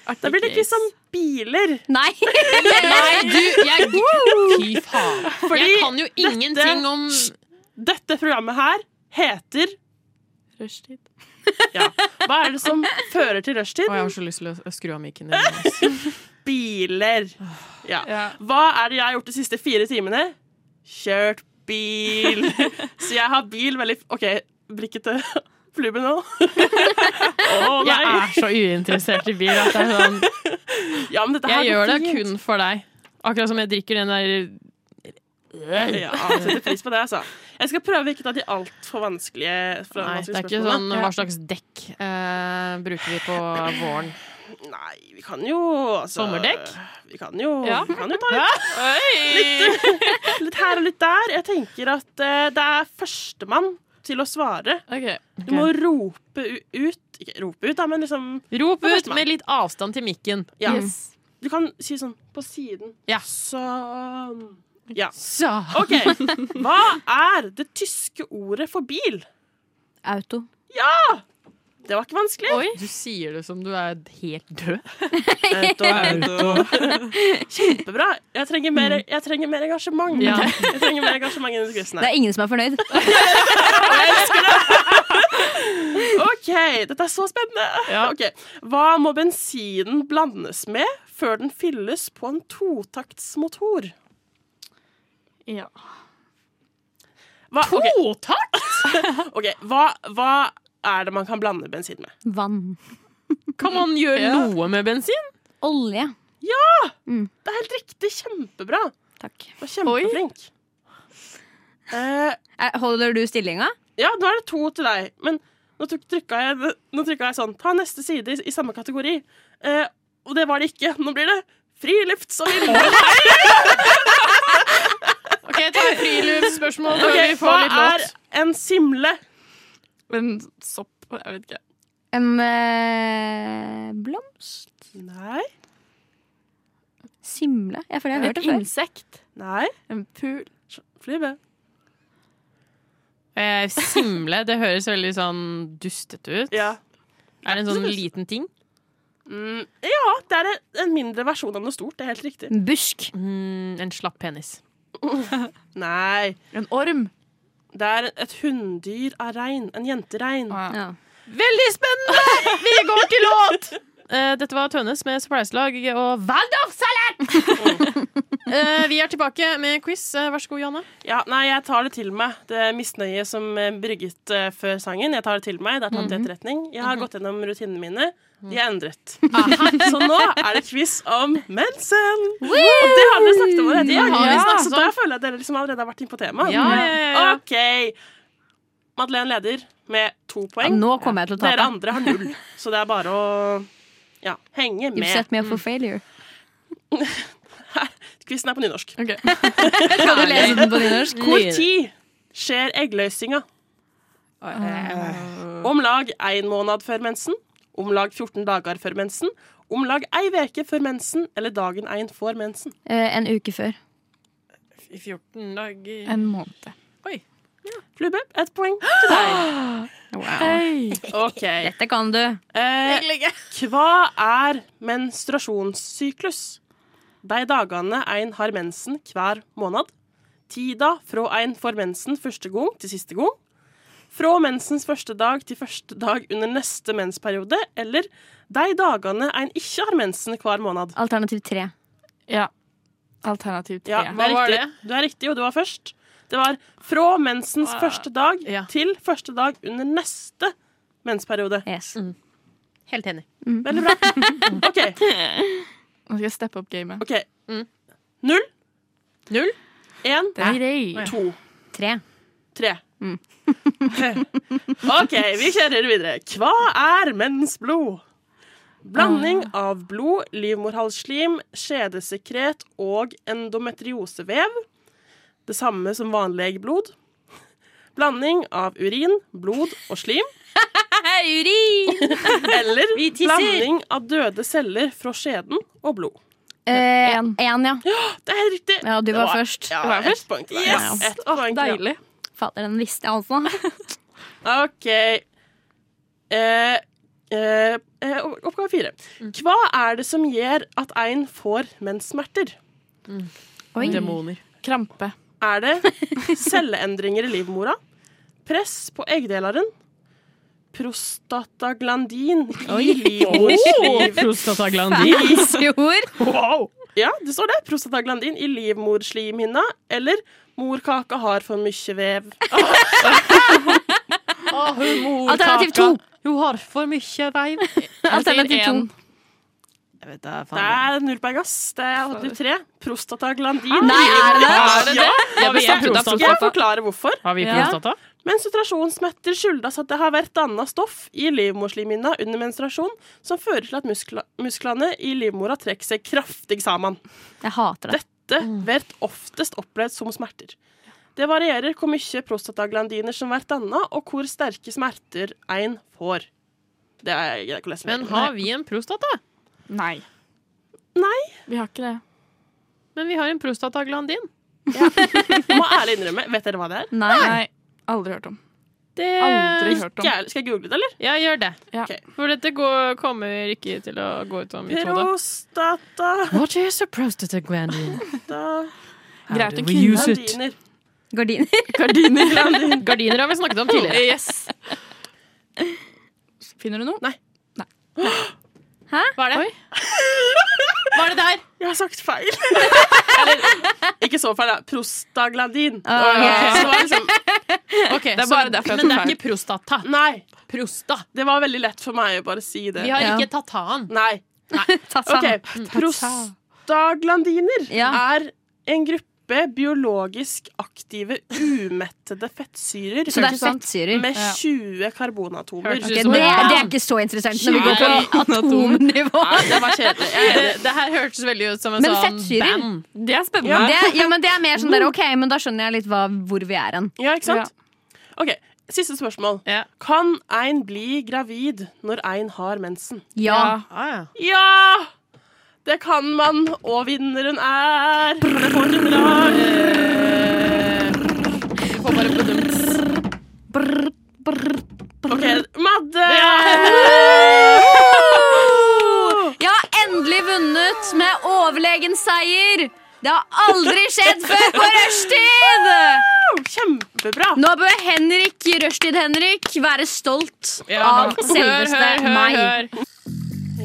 [SPEAKER 10] Da blir det liksom quiz om biler.
[SPEAKER 5] Nei!
[SPEAKER 4] Nei, du, jeg Fy faen.
[SPEAKER 10] Fordi
[SPEAKER 4] Jeg kan jo ingenting
[SPEAKER 10] dette,
[SPEAKER 4] om
[SPEAKER 10] Dette programmet her heter
[SPEAKER 6] Rushtid.
[SPEAKER 10] Ja. Hva er det som fører til rushtid?
[SPEAKER 4] Å, jeg har så lyst til å skru av mikken. din.
[SPEAKER 10] Biler. Ja. Hva er det jeg har gjort de siste fire timene? Kjørt bil. Så jeg har bil veldig OK, blikket til Flubben nå. Å nei.
[SPEAKER 4] Jeg er så uinteressert i bil at det er sånn
[SPEAKER 10] Ja, men dette
[SPEAKER 4] Jeg
[SPEAKER 10] her går
[SPEAKER 4] gjør det
[SPEAKER 10] fint.
[SPEAKER 4] kun for deg. Akkurat som jeg drikker den der
[SPEAKER 10] Ja, jeg setter pris på det, altså. Jeg skal prøve ikke å ta de altfor vanskelige, for
[SPEAKER 4] Nei, det
[SPEAKER 10] vanskelige
[SPEAKER 4] er ikke sånn
[SPEAKER 10] spørsmålene.
[SPEAKER 4] hva slags dekk eh, bruker vi på våren.
[SPEAKER 10] Nei, vi kan jo altså,
[SPEAKER 4] sånn- Sommerdekk?
[SPEAKER 10] Vi kan jo,
[SPEAKER 4] Ja.
[SPEAKER 10] vi kan jo ta litt, litt, litt her og litt der. Jeg tenker at eh, det er førstemann til å svare. Du må rope u- ut Ikke rope ut, da, men liksom
[SPEAKER 4] Rop ut med litt avstand til mikken.
[SPEAKER 10] Ja.
[SPEAKER 4] Yes.
[SPEAKER 10] Du kan si sånn på siden.
[SPEAKER 4] Ja.
[SPEAKER 10] Sånn. Ja.
[SPEAKER 4] Så.
[SPEAKER 10] OK. Hva er det tyske ordet for bil?
[SPEAKER 5] Auto.
[SPEAKER 10] Ja! Det var ikke vanskelig.
[SPEAKER 4] Du sier det som du er helt død.
[SPEAKER 10] Auto, auto. Kjempebra. Jeg trenger mer,
[SPEAKER 4] Mm.
[SPEAKER 10] jeg trenger mer engasjement.
[SPEAKER 5] Ja.
[SPEAKER 10] Jeg trenger mer engasjement i disse quizene.
[SPEAKER 5] Det er ingen som er fornøyd.
[SPEAKER 10] OK, dette er så spennende. Ok. Hva må bensinen blandes med før den fylles på en totaktsmotor?
[SPEAKER 6] Ja.
[SPEAKER 10] Hva, Totakt?! OK, hva, hva er det man kan blande bensin med?
[SPEAKER 5] Vann.
[SPEAKER 4] Kan man gjøre
[SPEAKER 10] Ja.
[SPEAKER 4] noe med bensin?
[SPEAKER 5] Olje.
[SPEAKER 10] Ja! Det er helt riktig. Kjempebra.
[SPEAKER 5] Takk.
[SPEAKER 10] Og kjempeflink. Eh,
[SPEAKER 5] Eh, Holder du stillinga?
[SPEAKER 10] Ja, nå er det to til deg. Men nå tok- trykka jeg, nå trykka jeg sånn. Ta neste side i, i samme kategori. Eh, og det var det ikke. Nå blir det frilufts- og villmark.
[SPEAKER 4] OK, ta et friluftsspørsmål. før
[SPEAKER 10] Ok,
[SPEAKER 4] vi får
[SPEAKER 10] hva
[SPEAKER 4] litt låt.
[SPEAKER 10] er en simle?
[SPEAKER 6] Men sopp Jeg vet ikke.
[SPEAKER 5] En eh, blomst?
[SPEAKER 10] Nei.
[SPEAKER 5] Simle? Jeg føler jeg har hørt det
[SPEAKER 6] Et
[SPEAKER 5] før.
[SPEAKER 6] insekt?
[SPEAKER 10] Nei.
[SPEAKER 6] En pul?
[SPEAKER 10] Flyve?
[SPEAKER 4] Eh, simle, det høres veldig sånn dustete ut. Er det en sånn liten ting?
[SPEAKER 10] Mm, ja, det er en- en mindre versjon av noe stort. Det er helt riktig.
[SPEAKER 5] busk?
[SPEAKER 4] Mm, en slapp penis.
[SPEAKER 10] Nei.
[SPEAKER 6] En orm?
[SPEAKER 10] Det er et hunndyr av rein. En jenterein.
[SPEAKER 4] Veldig spennende! Vi går til låt! Eh, dette var Tønnes med Surprise-lag og Waldorfsalat! Eh, vi er tilbake med quiz. Eh, vær så god, Janne.
[SPEAKER 10] Ja, nei, jeg tar det til meg. Det misnøyet som eh, brygget eh, før sangen. Jeg tar det til meg. Det er tatt til etterretning. Jeg har gått gjennom rutinene mine. De er endret. Så nå er det quiz om mensen! Og det har dere snakket om allerede i
[SPEAKER 4] Det
[SPEAKER 10] dag.
[SPEAKER 4] har vi
[SPEAKER 10] Ja,
[SPEAKER 4] snakket
[SPEAKER 10] så
[SPEAKER 4] om.
[SPEAKER 10] da føler jeg at dere liksom allerede har vært inne på temaet.
[SPEAKER 4] Ja, ja, ja, ja.
[SPEAKER 10] OK. Madeleine leder med to poeng.
[SPEAKER 5] Ja, nå kommer jeg til å tape.
[SPEAKER 10] Dere andre har null. Så det er bare å ja, henge
[SPEAKER 5] You've
[SPEAKER 10] med.
[SPEAKER 5] set me up for failure.
[SPEAKER 10] Quizen er på nynorsk.
[SPEAKER 5] Skal du lese den på nynorsk?
[SPEAKER 10] Hvor tid skjer eggløsinga? Om lag én måned før mensen, om lag 14 dager før mensen, om lag ei veke før mensen eller dagen ein får mensen.
[SPEAKER 5] Eh, en uke før.
[SPEAKER 4] I 14 dager
[SPEAKER 6] En måned.
[SPEAKER 10] Flube, ett poeng til deg. OK.
[SPEAKER 5] Dette kan du.
[SPEAKER 10] Eh, hva er menstruasjonssyklus? De dagene ein har mensen hver måned. Tida fra ein får mensen første gang til siste gang. Fra mensens første dag til første dag under neste mensperiode. Eller de dagene ein ikke har mensen hver måned.
[SPEAKER 5] Alternativ tre.
[SPEAKER 6] Ja. Alternativ tre.
[SPEAKER 10] Ja, det
[SPEAKER 4] Hva
[SPEAKER 10] er
[SPEAKER 4] var
[SPEAKER 10] riktig. Du er riktig, og du var først. Det var fra mensens
[SPEAKER 4] Ah,
[SPEAKER 10] første dag til første dag under neste mensperiode.
[SPEAKER 5] Yes.
[SPEAKER 4] Helt enig.
[SPEAKER 10] Veldig bra. OK.
[SPEAKER 6] Nå skal jeg steppe opp gamet.
[SPEAKER 10] ok
[SPEAKER 5] Mm.
[SPEAKER 10] Null.
[SPEAKER 4] Null?
[SPEAKER 10] Én,
[SPEAKER 6] Det er Mm. grei.
[SPEAKER 10] to,
[SPEAKER 5] Tre.
[SPEAKER 10] tre. OK, vi kjører videre. Hva er mensblod? Blanding
[SPEAKER 6] Ah.
[SPEAKER 10] av blod, livmorhalsslim, skjedesekret og endometriosevev. Det samme som vanlig eggblod. Blanding av urin, blod og slim.
[SPEAKER 5] Urin!
[SPEAKER 10] Eller
[SPEAKER 5] Vi tisser.
[SPEAKER 10] blanding av døde celler fra skjeden og blod.
[SPEAKER 5] Én, Eh, ja.
[SPEAKER 10] Det er helt riktig.
[SPEAKER 5] Ja, du var
[SPEAKER 10] Det
[SPEAKER 5] først.
[SPEAKER 10] Ja,
[SPEAKER 6] Du var
[SPEAKER 10] ett
[SPEAKER 6] først.
[SPEAKER 10] poeng til deg.
[SPEAKER 6] Yes.
[SPEAKER 10] Ja, ett poeng til deg.
[SPEAKER 6] Deilig.
[SPEAKER 5] Fader, den visste jeg altså.
[SPEAKER 10] OK. Eh, eh, eh, oppgave fire. Hva er det som gjør at en får menssmerter?
[SPEAKER 5] Oi.
[SPEAKER 4] Demoner.
[SPEAKER 6] Krampe.
[SPEAKER 10] Er det celleendringer i livmora? Press på eggdeleren? Prostataglandin i livmorsliv...
[SPEAKER 4] prostataglandin.
[SPEAKER 5] Fisord!
[SPEAKER 10] Wow! Ja, det står det. Prostataglandin i livmorslimhinna eller morkaka har for mye vev.
[SPEAKER 5] Alternativ to.
[SPEAKER 4] Hun har for mye veiv.
[SPEAKER 5] Alternativ to.
[SPEAKER 4] Jeg vet da,
[SPEAKER 10] Det
[SPEAKER 4] faen.
[SPEAKER 10] er null poeng, ass. Det er alternativ tre. Prostataglandin.
[SPEAKER 5] Nei, er det det?
[SPEAKER 4] Er det det? Har vi
[SPEAKER 10] Jeg
[SPEAKER 4] prostata?
[SPEAKER 10] skal jeg forklare hvorfor.
[SPEAKER 4] Har vi
[SPEAKER 6] Ja.
[SPEAKER 4] prostata?
[SPEAKER 10] Menstruasjonsmetter skyldes at det har vært dannet stoff i livmorslimhinna under menstruasjon som fører til at muskla musklene i livmora trekker seg kraftig sammen.
[SPEAKER 5] Jeg hater det. Mm.
[SPEAKER 10] Dette blir oftest opplevd som smerter. Det varierer hvor mye prostataglandiner som vært danna, og hvor sterke smerter ein får. Det er jeg gidder ikke å lese mer.
[SPEAKER 4] Men har vi en prostata?
[SPEAKER 6] Nei.
[SPEAKER 10] Nei.
[SPEAKER 6] Vi har ikke det.
[SPEAKER 4] Men vi har en prostataglandin.
[SPEAKER 10] Må ærlig innrømme. Vet dere hva det er?
[SPEAKER 6] Nei. Aldri hørt om.
[SPEAKER 4] Det...
[SPEAKER 6] Aldri hørt om.
[SPEAKER 10] Eh, Ikke jeg- Skal jeg google det, eller?
[SPEAKER 4] Ja, gjør det.
[SPEAKER 10] Ok.
[SPEAKER 4] For dette går, kommer ikke til å gå ut av mitt hode.
[SPEAKER 10] Prostata
[SPEAKER 4] What is a prostataglandin?
[SPEAKER 10] da.
[SPEAKER 4] How do we use it?
[SPEAKER 10] Gardiner.
[SPEAKER 5] Gardiner.
[SPEAKER 4] Gardiner. Gardiner har vi snakket om tidligere.
[SPEAKER 6] Yes. Finner du noe?
[SPEAKER 10] Nei.
[SPEAKER 5] Hæ?
[SPEAKER 4] Hva er det? Hva er det der?
[SPEAKER 10] Jeg har sagt feil. Eller, ikke så feil, da. Prostaglandin.
[SPEAKER 4] ok.
[SPEAKER 10] Så det var liksom
[SPEAKER 4] Ok,
[SPEAKER 6] er
[SPEAKER 4] så-
[SPEAKER 6] bare derfor jeg
[SPEAKER 4] Men det
[SPEAKER 6] tok
[SPEAKER 4] er ikke prostata.
[SPEAKER 10] Nei.
[SPEAKER 4] Prosta.
[SPEAKER 10] Det var veldig lett for meg å bare si det.
[SPEAKER 4] Vi har
[SPEAKER 5] Ja.
[SPEAKER 4] ikke tatan.
[SPEAKER 10] Nei. Ok, Prostaglandiner er en gruppe biologisk aktive umettede fettsyrer
[SPEAKER 5] Så det er fettsyrer?
[SPEAKER 10] med
[SPEAKER 5] Ja.
[SPEAKER 10] 20 karbonatomer.
[SPEAKER 4] Hørtes
[SPEAKER 5] Ok, det, det er ikke så interessant når vi går på atomnivå.
[SPEAKER 10] Nei, det var kjedelig. Jeg
[SPEAKER 4] Det,
[SPEAKER 10] er enig.
[SPEAKER 4] det her hørtes veldig ut som en
[SPEAKER 5] Men
[SPEAKER 4] sånn
[SPEAKER 5] fettsyrer?
[SPEAKER 4] band.
[SPEAKER 6] Det er spennende.
[SPEAKER 10] Ja.
[SPEAKER 5] Det, er- ja, men det er mer sånn der, ok, men da skjønner jeg litt hva, hvor vi er hen.
[SPEAKER 10] Ja, ikke sant? Ok, Siste spørsmål.
[SPEAKER 4] Ja.
[SPEAKER 10] Kan ein bli gravid når ein har mensen?
[SPEAKER 5] Ja.
[SPEAKER 4] Ah, ja.
[SPEAKER 10] Ja! Det kan man, og vinneren er Det får en rar
[SPEAKER 4] Du får bare produkt.
[SPEAKER 10] OK, Madde!
[SPEAKER 5] Jeg har endelig vunnet med overlegen seier! Det har aldri skjedd før på rushtid!
[SPEAKER 10] Kjempebra.
[SPEAKER 5] Nå bør Henrik, rushtid-Henrik, være stolt
[SPEAKER 4] Ja.
[SPEAKER 5] av selveste
[SPEAKER 4] hør, hør,
[SPEAKER 5] meg.
[SPEAKER 4] hør, hør.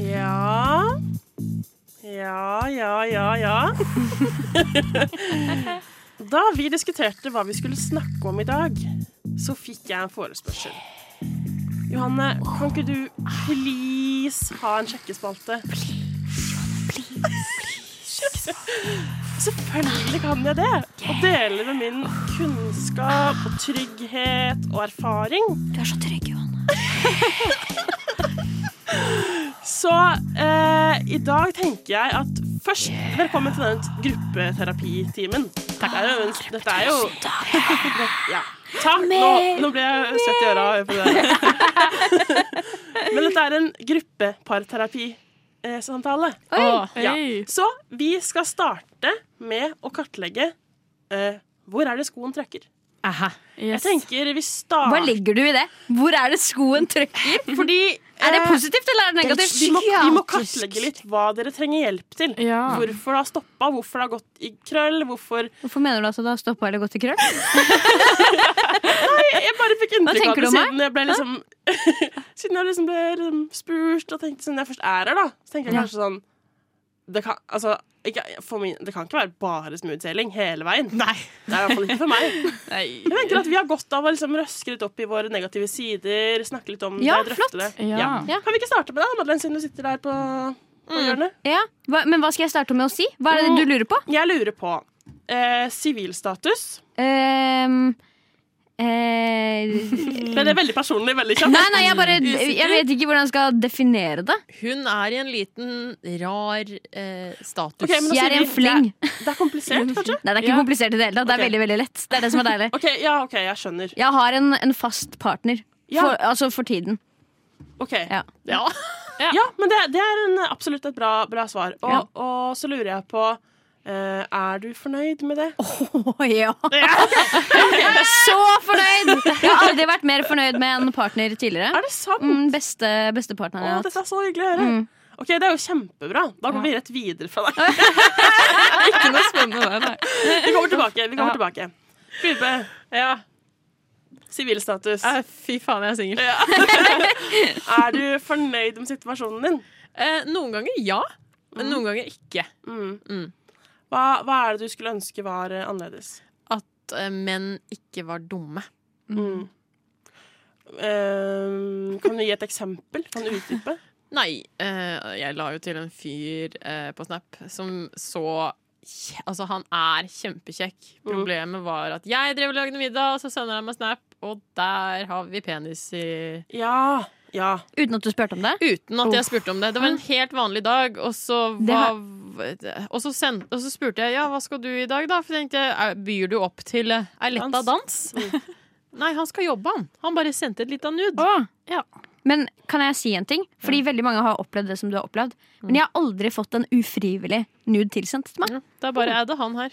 [SPEAKER 10] Ja Ja, ja, ja, ja. da vi diskuterte hva vi skulle snakke om i dag, så fikk jeg en forespørsel. Johanne, kan ikke du please ha en sjekkespalte? Selvfølgelig kan jeg det. Og dele med min kunnskap og trygghet og erfaring.
[SPEAKER 5] Du er så trygg, Johan.
[SPEAKER 10] Så eh, i dag tenker jeg at først Velkommen til den gruppeterapitimen. Takk. Det er jo, en- dette er jo ja. Takk. Nå, nå ble jeg svett i øra av å høre på det. der. Men dette er en gruppeparterapisamtale.
[SPEAKER 4] Å,
[SPEAKER 10] Ja. Så vi skal starte med å kartlegge eh, hvor er det skoen trykker.
[SPEAKER 4] Aha.
[SPEAKER 10] Jeg
[SPEAKER 6] Yes.
[SPEAKER 10] tenker vi
[SPEAKER 5] Hva
[SPEAKER 10] starter
[SPEAKER 5] legger du i det? Hvor er det skoen trykker?
[SPEAKER 10] Fordi
[SPEAKER 5] Er det
[SPEAKER 10] eh,
[SPEAKER 5] positivt eller er det negativt?
[SPEAKER 10] Vi må, vi må kartlegge litt hva dere trenger hjelp til.
[SPEAKER 6] Ja.
[SPEAKER 5] Ah.
[SPEAKER 10] Hvorfor det har stoppa, hvorfor det har gått i krøll. Hvorfor
[SPEAKER 5] Hvorfor mener du at det har stoppa eller gått i krøll?
[SPEAKER 10] Jeg bare fikk inntrykk av
[SPEAKER 5] tenker
[SPEAKER 10] det
[SPEAKER 5] du om meg?
[SPEAKER 10] siden jeg ble liksom Siden jeg liksom ble liksom spurt, og tenkte siden jeg først er her, da, så tenker jeg
[SPEAKER 5] Ja.
[SPEAKER 10] kanskje sånn Det kan, altså, ikke, for min, det kan ikke være bare smoothsailing hele veien. Nei. Det er i hvert fall ikke for meg. Jeg tenker at Vi har godt av å liksom røske litt opp i våre negative sider, snakke litt om
[SPEAKER 5] Ja,
[SPEAKER 10] det,
[SPEAKER 5] flott.
[SPEAKER 10] drøfte det.
[SPEAKER 6] Ja.
[SPEAKER 5] Ja. Mm.
[SPEAKER 10] Kan vi ikke starte med deg, Madeleine, siden du sitter der på, på hjørnet?
[SPEAKER 5] Ja, hva, Men hva skal jeg starte med å si? Hva er
[SPEAKER 10] Mm.
[SPEAKER 5] det du lurer på?
[SPEAKER 10] Jeg lurer på eh, Sivilstatus.
[SPEAKER 5] Ehm, eh,
[SPEAKER 10] Ble det veldig personlig veldig kjapt?
[SPEAKER 5] Nei, nei, jeg bare Jeg vet ikke hvordan jeg skal definere det.
[SPEAKER 4] Hun er i en liten, rar eh, status.
[SPEAKER 10] Ok, men
[SPEAKER 5] Jeg
[SPEAKER 10] da sier
[SPEAKER 5] er i en
[SPEAKER 10] vi-
[SPEAKER 5] fleng.
[SPEAKER 10] Det, er- det er komplisert, kanskje?
[SPEAKER 5] Nei, Det er ikke komplisert i det hele tatt. Det er
[SPEAKER 10] Ok.
[SPEAKER 5] veldig veldig lett. Det er det som er deilig.
[SPEAKER 10] OK, ja, ok, jeg skjønner.
[SPEAKER 5] Jeg har en, en fast partner.
[SPEAKER 10] Ja.
[SPEAKER 5] For, altså for tiden.
[SPEAKER 10] Ok.
[SPEAKER 5] Ja.
[SPEAKER 10] Ja. ja, men det, det er en, absolutt et bra, bra svar. Og, og så lurer jeg på eh, Er du fornøyd med det?
[SPEAKER 5] Å, ja. Jeg er så fornøyd! Jeg har aldri vært mer fornøyd med en partner tidligere.
[SPEAKER 10] Er det sant?
[SPEAKER 5] Mm, beste, beste partneren
[SPEAKER 10] Å,
[SPEAKER 5] jeg har hatt.
[SPEAKER 10] dette er så hyggelig å høre.
[SPEAKER 5] Mm.
[SPEAKER 10] OK, det er jo kjempebra. Da går vi rett videre fra deg.
[SPEAKER 6] Ikke noe spennende der, nei.
[SPEAKER 10] Vi kommer tilbake. Vi kommer tilbake. Gruppe. Ja. Sivilstatus.
[SPEAKER 4] Eh, fy faen, jeg er singel.
[SPEAKER 10] Ja. er du fornøyd med situasjonen din?
[SPEAKER 4] Eh, noen ganger ja, men noen ganger ikke.
[SPEAKER 10] Mm.
[SPEAKER 4] Mm.
[SPEAKER 10] Hva, hva er det du skulle ønske var eh, annerledes?
[SPEAKER 4] At eh, menn ikke var dumme.
[SPEAKER 10] Mm. Ehm, kan du gi et eksempel? Kan du utdype?
[SPEAKER 4] Nei, eh, jeg la jo til en fyr eh, på Snap som så kje- Altså, han er kjempekjekk. Problemet var at jeg drev og lagde middag, og så sender han meg Snap, og der har vi penis i
[SPEAKER 10] Ja. Ja.
[SPEAKER 5] Uten at du spurte om det?
[SPEAKER 4] Uten at jeg spurte om det. Det var en helt vanlig dag, og så
[SPEAKER 5] Det
[SPEAKER 4] var,
[SPEAKER 5] har-
[SPEAKER 4] og, så send, og så spurte jeg ja, hva skal du i dag, da? For jeg tenkte, er- byr du opp til eh, er letta dans? Nei, han skal jobbe, han. Han bare sendte et lite nude. Ja.
[SPEAKER 5] Men kan jeg si en ting? Fordi veldig mange har opplevd det som du har opplevd. Men jeg har aldri fått en ufrivillig nude tilsendt til meg.
[SPEAKER 4] Da bare er det han her.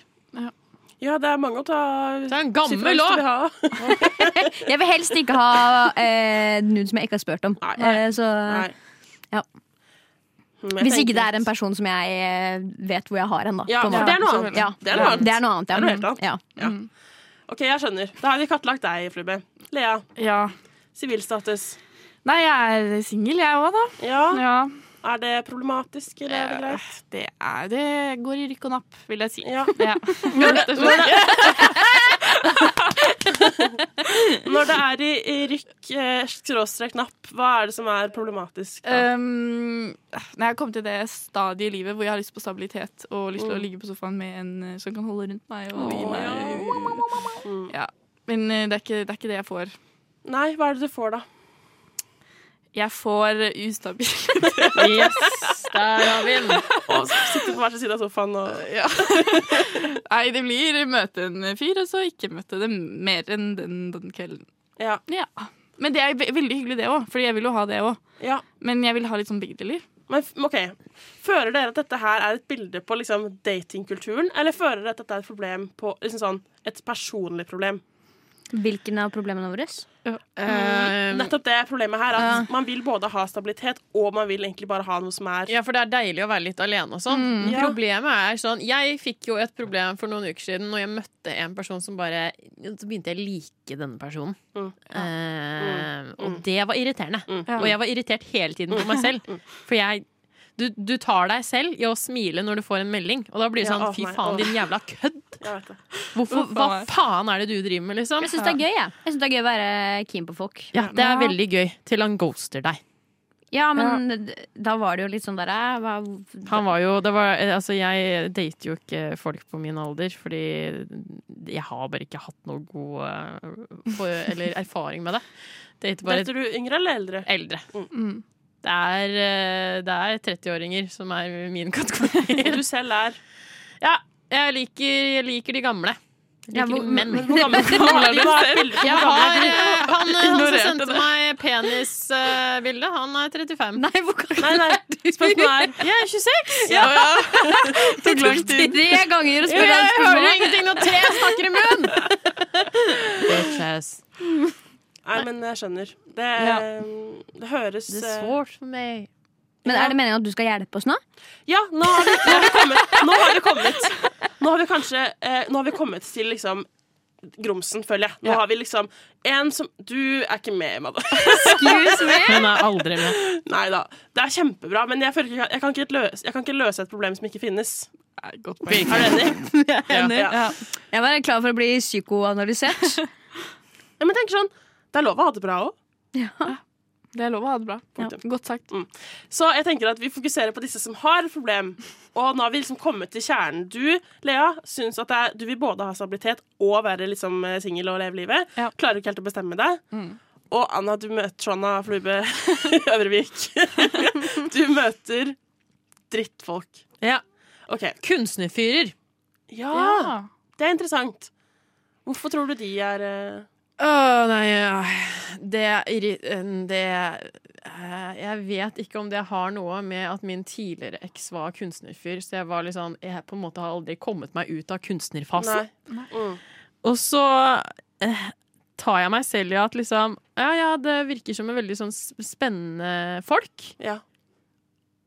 [SPEAKER 10] Ja, det er mange å ta Det
[SPEAKER 4] er en
[SPEAKER 5] gammel også. Jeg vil helst ikke ha eh, nude som jeg ikke har spurt om. Eh, så ja.
[SPEAKER 10] jeg
[SPEAKER 5] Hvis ikke
[SPEAKER 10] tenker
[SPEAKER 5] det er en person som jeg eh, vet hvor jeg har hen, da.
[SPEAKER 10] Ja,
[SPEAKER 5] på en
[SPEAKER 10] for
[SPEAKER 5] måte.
[SPEAKER 10] det er noe annet.
[SPEAKER 5] Ja.
[SPEAKER 10] Det er noe annet.
[SPEAKER 5] Det er noe annet, ja.
[SPEAKER 10] Det er noe helt annet.
[SPEAKER 5] Ja.
[SPEAKER 10] OK, jeg skjønner. Da har vi kartlagt deg, Flubbe. Lea. Sivilstatus.
[SPEAKER 6] Nei, jeg er singel, jeg òg, da.
[SPEAKER 10] Ja. Eh.
[SPEAKER 6] ja.
[SPEAKER 10] Er det problematisk, eller er det greit?
[SPEAKER 6] Det, er, det går i rykk og napp, vil jeg si.
[SPEAKER 10] Ja.
[SPEAKER 6] Rett og slett.
[SPEAKER 10] Når det er i, i rykk, eh, skråstrek napp, hva er det som er problematisk? da?
[SPEAKER 6] Um, når jeg kom til det stadiet i livet hvor jeg har lyst på stabilitet og lyst til å
[SPEAKER 10] Mm.
[SPEAKER 6] ligge på sofaen med en eh, som kan holde rundt meg og gi
[SPEAKER 10] Åh,
[SPEAKER 6] meg ja. Men eh, det er, ikke, det er ikke det jeg får.
[SPEAKER 10] Nei, hva er det du får, da?
[SPEAKER 6] Jeg får eh, ustabil
[SPEAKER 4] Yes, der har vi den.
[SPEAKER 10] Og sitter på hver sin side av sofaen og
[SPEAKER 6] Ja. Nei, det blir møte en fyr, og så ikke møte dem mer enn den, den kvelden.
[SPEAKER 10] Ja.
[SPEAKER 6] Men det er ve- veldig hyggelig, det òg, for jeg vil jo ha det òg. Men jeg vil ha litt sånn begge deler.
[SPEAKER 10] Men f- OK. Føler dere at dette her er et bilde på liksom, datingkulturen, eller føler dere at dette er et problem på liksom sånn, Et personlig problem?
[SPEAKER 5] Hvilken av problemene våre?
[SPEAKER 4] Um,
[SPEAKER 10] Mm, Nettopp det problemet her. At Man vil både ha stabilitet, og man vil egentlig bare ha noe som er
[SPEAKER 4] Ja, for det er deilig å være litt alene og sånn.
[SPEAKER 10] Mm. Ja.
[SPEAKER 4] Problemet er sånn Jeg fikk jo et problem for noen uker siden når jeg møtte en person som bare Så begynte jeg å like denne personen.
[SPEAKER 10] Mm.
[SPEAKER 4] Eh, og det var irriterende.
[SPEAKER 10] Ja.
[SPEAKER 4] Og jeg var irritert hele tiden på
[SPEAKER 10] Mm.
[SPEAKER 4] meg selv. For jeg du, du tar deg selv i å smile når du får en melding, og da blir det
[SPEAKER 10] Ja,
[SPEAKER 4] sånn
[SPEAKER 10] å,
[SPEAKER 4] Fy
[SPEAKER 10] nei,
[SPEAKER 4] faen,
[SPEAKER 10] å.
[SPEAKER 4] din jævla kødd!
[SPEAKER 10] Jeg vet det.
[SPEAKER 4] Hvorfor,
[SPEAKER 10] Uff,
[SPEAKER 4] hva
[SPEAKER 10] faen meg.
[SPEAKER 4] faen er det du driver med, liksom?
[SPEAKER 5] Jeg syns det er gøy jeg. Jeg synes det er gøy å være keen på folk.
[SPEAKER 4] Ja, det er veldig gøy til han ghoster deg.
[SPEAKER 5] Ja, men d- da var det jo litt sånn der eh, hva,
[SPEAKER 4] Han var jo det var, Altså, jeg dater jo ikke folk på min alder, fordi jeg har bare ikke hatt noe god eh, for, Eller erfaring med det. Dater bare
[SPEAKER 10] Dater du Mm. yngre eller eldre?
[SPEAKER 4] Eldre. Det er, eh, det er 30-åringer som er min kategori.
[SPEAKER 10] Og du selv er
[SPEAKER 4] Ja, jeg liker, jeg liker de gamle. Jeg
[SPEAKER 10] Ja,
[SPEAKER 4] Liker
[SPEAKER 10] hvor-
[SPEAKER 4] de menn.
[SPEAKER 10] men hvor gammel- hvor gammel er du selv?
[SPEAKER 4] Jeg har, eh, han, han som
[SPEAKER 10] Ignorerte
[SPEAKER 4] sendte
[SPEAKER 10] det.
[SPEAKER 4] meg penisbildet, han er 35. Nei,
[SPEAKER 5] hvor gammel
[SPEAKER 10] Nei, nei. Spørsmålet er
[SPEAKER 4] Jeg er 26!
[SPEAKER 10] Ja.
[SPEAKER 4] Tok lang
[SPEAKER 5] tid. Tre ganger å
[SPEAKER 4] Jeg
[SPEAKER 5] spørre deg
[SPEAKER 4] hører
[SPEAKER 5] spørsmål.
[SPEAKER 4] ingenting når tre snakker i munn! Bitches.
[SPEAKER 10] Nei, men jeg skjønner. Det, um, det høres eh,
[SPEAKER 5] Det
[SPEAKER 4] er svårt for meg.
[SPEAKER 5] Men er det meningen at du skal hjelpe oss nå?
[SPEAKER 10] Ja, nå har vi, nå har vi kommet. Nå har vi kommet. Nå har vi kanskje eh, Nå har vi kommet til liksom grumsen, føler jeg. Nå har vi liksom en som Du er ikke med, Madde.
[SPEAKER 4] Hun er aldri med.
[SPEAKER 10] Nei da. Det er kjempebra, men jeg, føler ikke, jeg, kan ikke løse, jeg kan ikke løse et problem som ikke finnes.
[SPEAKER 6] Godt
[SPEAKER 10] poeng. Er du enig?
[SPEAKER 5] Enig.
[SPEAKER 10] Ja. Ja.
[SPEAKER 5] Jeg var klar for å bli psykoanalysert.
[SPEAKER 10] Ja, men tenk sånn, Det er lov å ha det bra òg.
[SPEAKER 6] Det er lov å ha det bra. Godt sagt.
[SPEAKER 10] Mm. Så jeg tenker at vi fokuserer på disse som har et problem. Og nå har vi liksom kommet til kjernen. Du, Lea, syns at det er, du vil både ha stabilitet og være liksom singel og leve livet. Klarer ikke helt å bestemme deg. Og Anna, du møter Shona Flube Øvrevik. du møter drittfolk.
[SPEAKER 4] Ja.
[SPEAKER 10] Ok.
[SPEAKER 4] Kunstnerfyrer.
[SPEAKER 10] Ja.
[SPEAKER 4] Ja.
[SPEAKER 10] Det er interessant. Hvorfor tror du de er eh,
[SPEAKER 4] Åh, nei ja. Det, irri- eh, det eh, Jeg vet ikke om det har noe med at min tidligere eks var kunstnerfyr, så jeg var litt sånn Jeg på en måte har aldri kommet meg ut av kunstnerfasen.
[SPEAKER 10] Mm.
[SPEAKER 4] Og så eh, tar jeg meg selv i at liksom Ja, ja, det virker som en veldig sånn s- spennende folk.
[SPEAKER 10] Ja.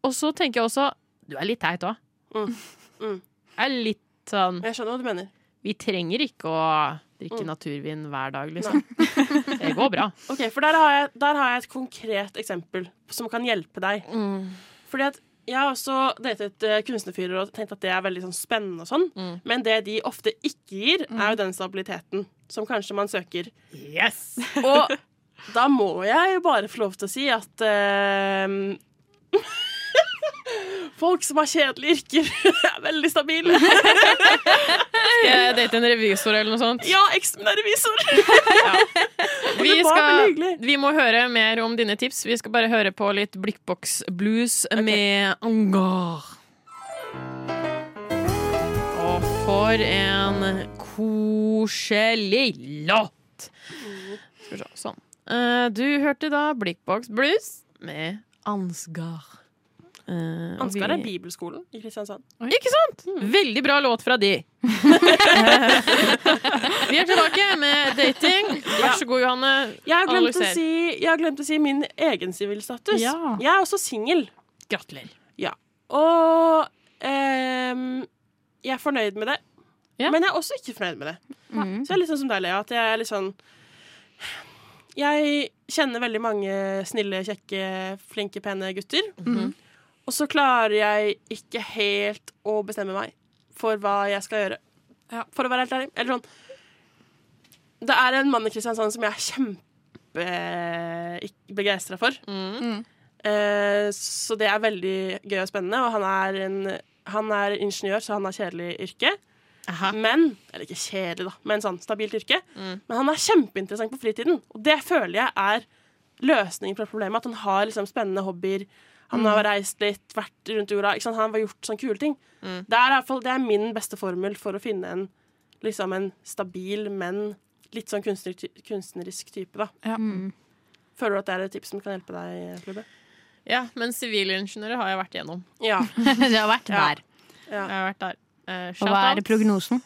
[SPEAKER 4] Og så tenker jeg også Du er litt teit òg.
[SPEAKER 10] Mm. Mm.
[SPEAKER 4] Jeg er litt sånn
[SPEAKER 10] Jeg skjønner hva du mener.
[SPEAKER 4] Vi trenger ikke å drikke
[SPEAKER 10] Mm.
[SPEAKER 4] naturvin hver dag, liksom. Det går bra.
[SPEAKER 10] Ok, for der har, jeg, der har jeg et konkret eksempel som kan hjelpe deg. Fordi at jeg har også datet eh, kunstnerfyrer og tenkt at det er veldig sånn spennende og sånn. Men det de ofte ikke gir, er jo den stabiliteten som kanskje man søker.
[SPEAKER 4] Yes!
[SPEAKER 10] Og da må jeg jo bare få lov til å si at eh, Folk som har kjedelige yrker, er veldig stabile.
[SPEAKER 4] Skal jeg date en revisor eller noe sånt?
[SPEAKER 10] Ja, eksternrevisor.
[SPEAKER 4] Vi,
[SPEAKER 10] det var veldig
[SPEAKER 4] skal,
[SPEAKER 10] hyggelig.
[SPEAKER 4] vi må høre mer om dine tips. Vi skal bare høre på litt Blikkboks blues med Angar. Og for en koselig låt! Skal vi se, sånn. Eh, Du hørte da Blikkboks Blues med Ansgar. Eh, og
[SPEAKER 10] Ansgar er
[SPEAKER 4] vi-
[SPEAKER 10] bibelskolen i Kristiansand.
[SPEAKER 4] Ikke sant? Veldig bra låt fra de. vi er tilbake med dating. Vær så god, Johanne.
[SPEAKER 10] Jeg har glemt, å
[SPEAKER 4] Analyser.
[SPEAKER 10] si, jeg har glemt å si min egen sivilstatus.
[SPEAKER 4] Ja.
[SPEAKER 10] Jeg er også singel.
[SPEAKER 4] Gratulerer.
[SPEAKER 10] Ja. Og ehm, jeg er fornøyd med det. Men jeg er også ikke fornøyd med det.
[SPEAKER 4] Mm.
[SPEAKER 10] Så jeg er litt sånn som deg, Lea, at jeg er litt sånn Jeg kjenner veldig mange snille, kjekke, flinke, pene gutter. Og så klarer jeg ikke helt å bestemme meg for hva jeg skal gjøre. For å være helt ærlig. Eller sånn Det er en mann i Kristiansand som jeg er kjempebegeistra for. Eh, så det er veldig gøy og spennende. Og han er, en, han er ingeniør, så han har kjedelig yrke. Men Eller ikke kjedelig, da, men sånn stabilt yrke. Men han er kjempeinteressant på fritiden, og det føler jeg er løsningen på problemet. At han har liksom spennende hobbyer. Han har reist litt, vært rundt jorda. Ikke sant? Han har gjort sånne kule ting.
[SPEAKER 4] Mm.
[SPEAKER 10] Det, er i hvert fall, det er min beste formel for å finne en, liksom en stabil, men litt sånn kunstner, kunstnerisk type. Da. Føler du at det er et tips som kan hjelpe deg, Flubbe?
[SPEAKER 4] Ja, men sivilingeniører har jeg vært igjennom.
[SPEAKER 10] Ja.
[SPEAKER 5] Det har vært
[SPEAKER 4] Ja.
[SPEAKER 5] der.
[SPEAKER 4] Jeg har vært der. Eh,
[SPEAKER 5] Og hva er
[SPEAKER 4] shoutout.
[SPEAKER 5] prognosen?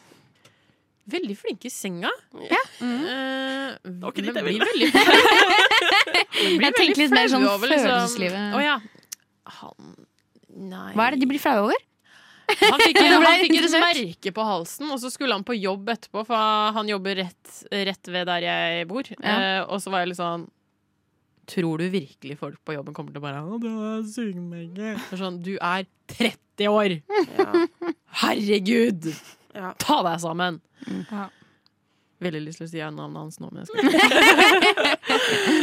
[SPEAKER 4] Veldig flinke i senga. Eh,
[SPEAKER 10] Ja.
[SPEAKER 4] det var ikke
[SPEAKER 10] dit
[SPEAKER 4] jeg
[SPEAKER 10] jeg ville.
[SPEAKER 4] ville. Jeg
[SPEAKER 5] Jeg tenkte litt mer sånn følelseslivet.
[SPEAKER 4] liksom- Å ja. Han Nei.
[SPEAKER 5] Hva er det de blir flaue over?
[SPEAKER 4] Han fikk,
[SPEAKER 5] Det ble
[SPEAKER 4] han fikk et
[SPEAKER 5] interessant.
[SPEAKER 4] merke på halsen, og så skulle han på jobb etterpå, for han jobber rett, rett ved der jeg bor.
[SPEAKER 5] Ja.
[SPEAKER 4] Eh, og så var jeg litt sånn Tror du virkelig folk på jobben kommer til å bare Å, det er sugemerke. Det er Sånn, du er 30 år! Herregud!
[SPEAKER 10] Ja.
[SPEAKER 4] Ta deg sammen!
[SPEAKER 6] Ja.
[SPEAKER 4] Veldig lyst til å si navnet hans nå, men jeg skal ikke.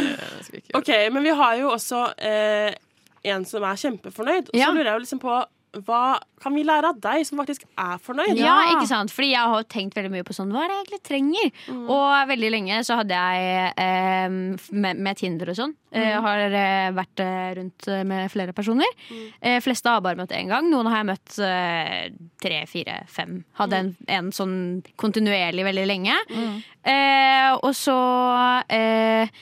[SPEAKER 4] Jeg skal ikke.
[SPEAKER 10] OK, men vi har jo også eh, en som er kjempefornøyd. Og så lurer jeg jo liksom på hva kan vi lære av deg som faktisk er fornøyd?
[SPEAKER 5] Ja, ikke sant? Fordi jeg har tenkt veldig mye på sånn, hva er det jeg egentlig trenger? Og veldig lenge så hadde jeg, eh, med, med Tinder og sånn, eh,
[SPEAKER 6] Mm.
[SPEAKER 5] har eh, vært eh, rundt eh, med flere personer. Eh, fleste har jeg bare møtt én gang. Noen har jeg møtt eh, tre, fire, fem. Hadde en, en sånn kontinuerlig veldig lenge. Eh, og så eh,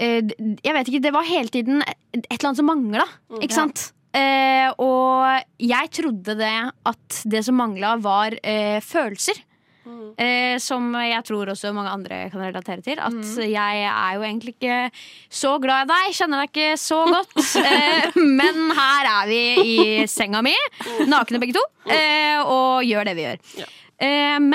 [SPEAKER 5] eh, d- Jeg vet ikke, det var hele tiden et et eller annet som mangla,
[SPEAKER 6] Mm.
[SPEAKER 5] ikke
[SPEAKER 6] Ja.
[SPEAKER 5] sant? Eh, og jeg trodde det at det som mangla, var eh, følelser.
[SPEAKER 6] Mm.
[SPEAKER 5] Eh, som jeg tror også mange andre kan relatere til. At
[SPEAKER 6] Mm.
[SPEAKER 5] jeg er jo egentlig ikke så glad i deg, kjenner deg ikke så godt. eh, men her er
[SPEAKER 6] Mm.
[SPEAKER 5] vi i senga mi, nakne begge to, eh, og gjør det vi gjør. Eh, men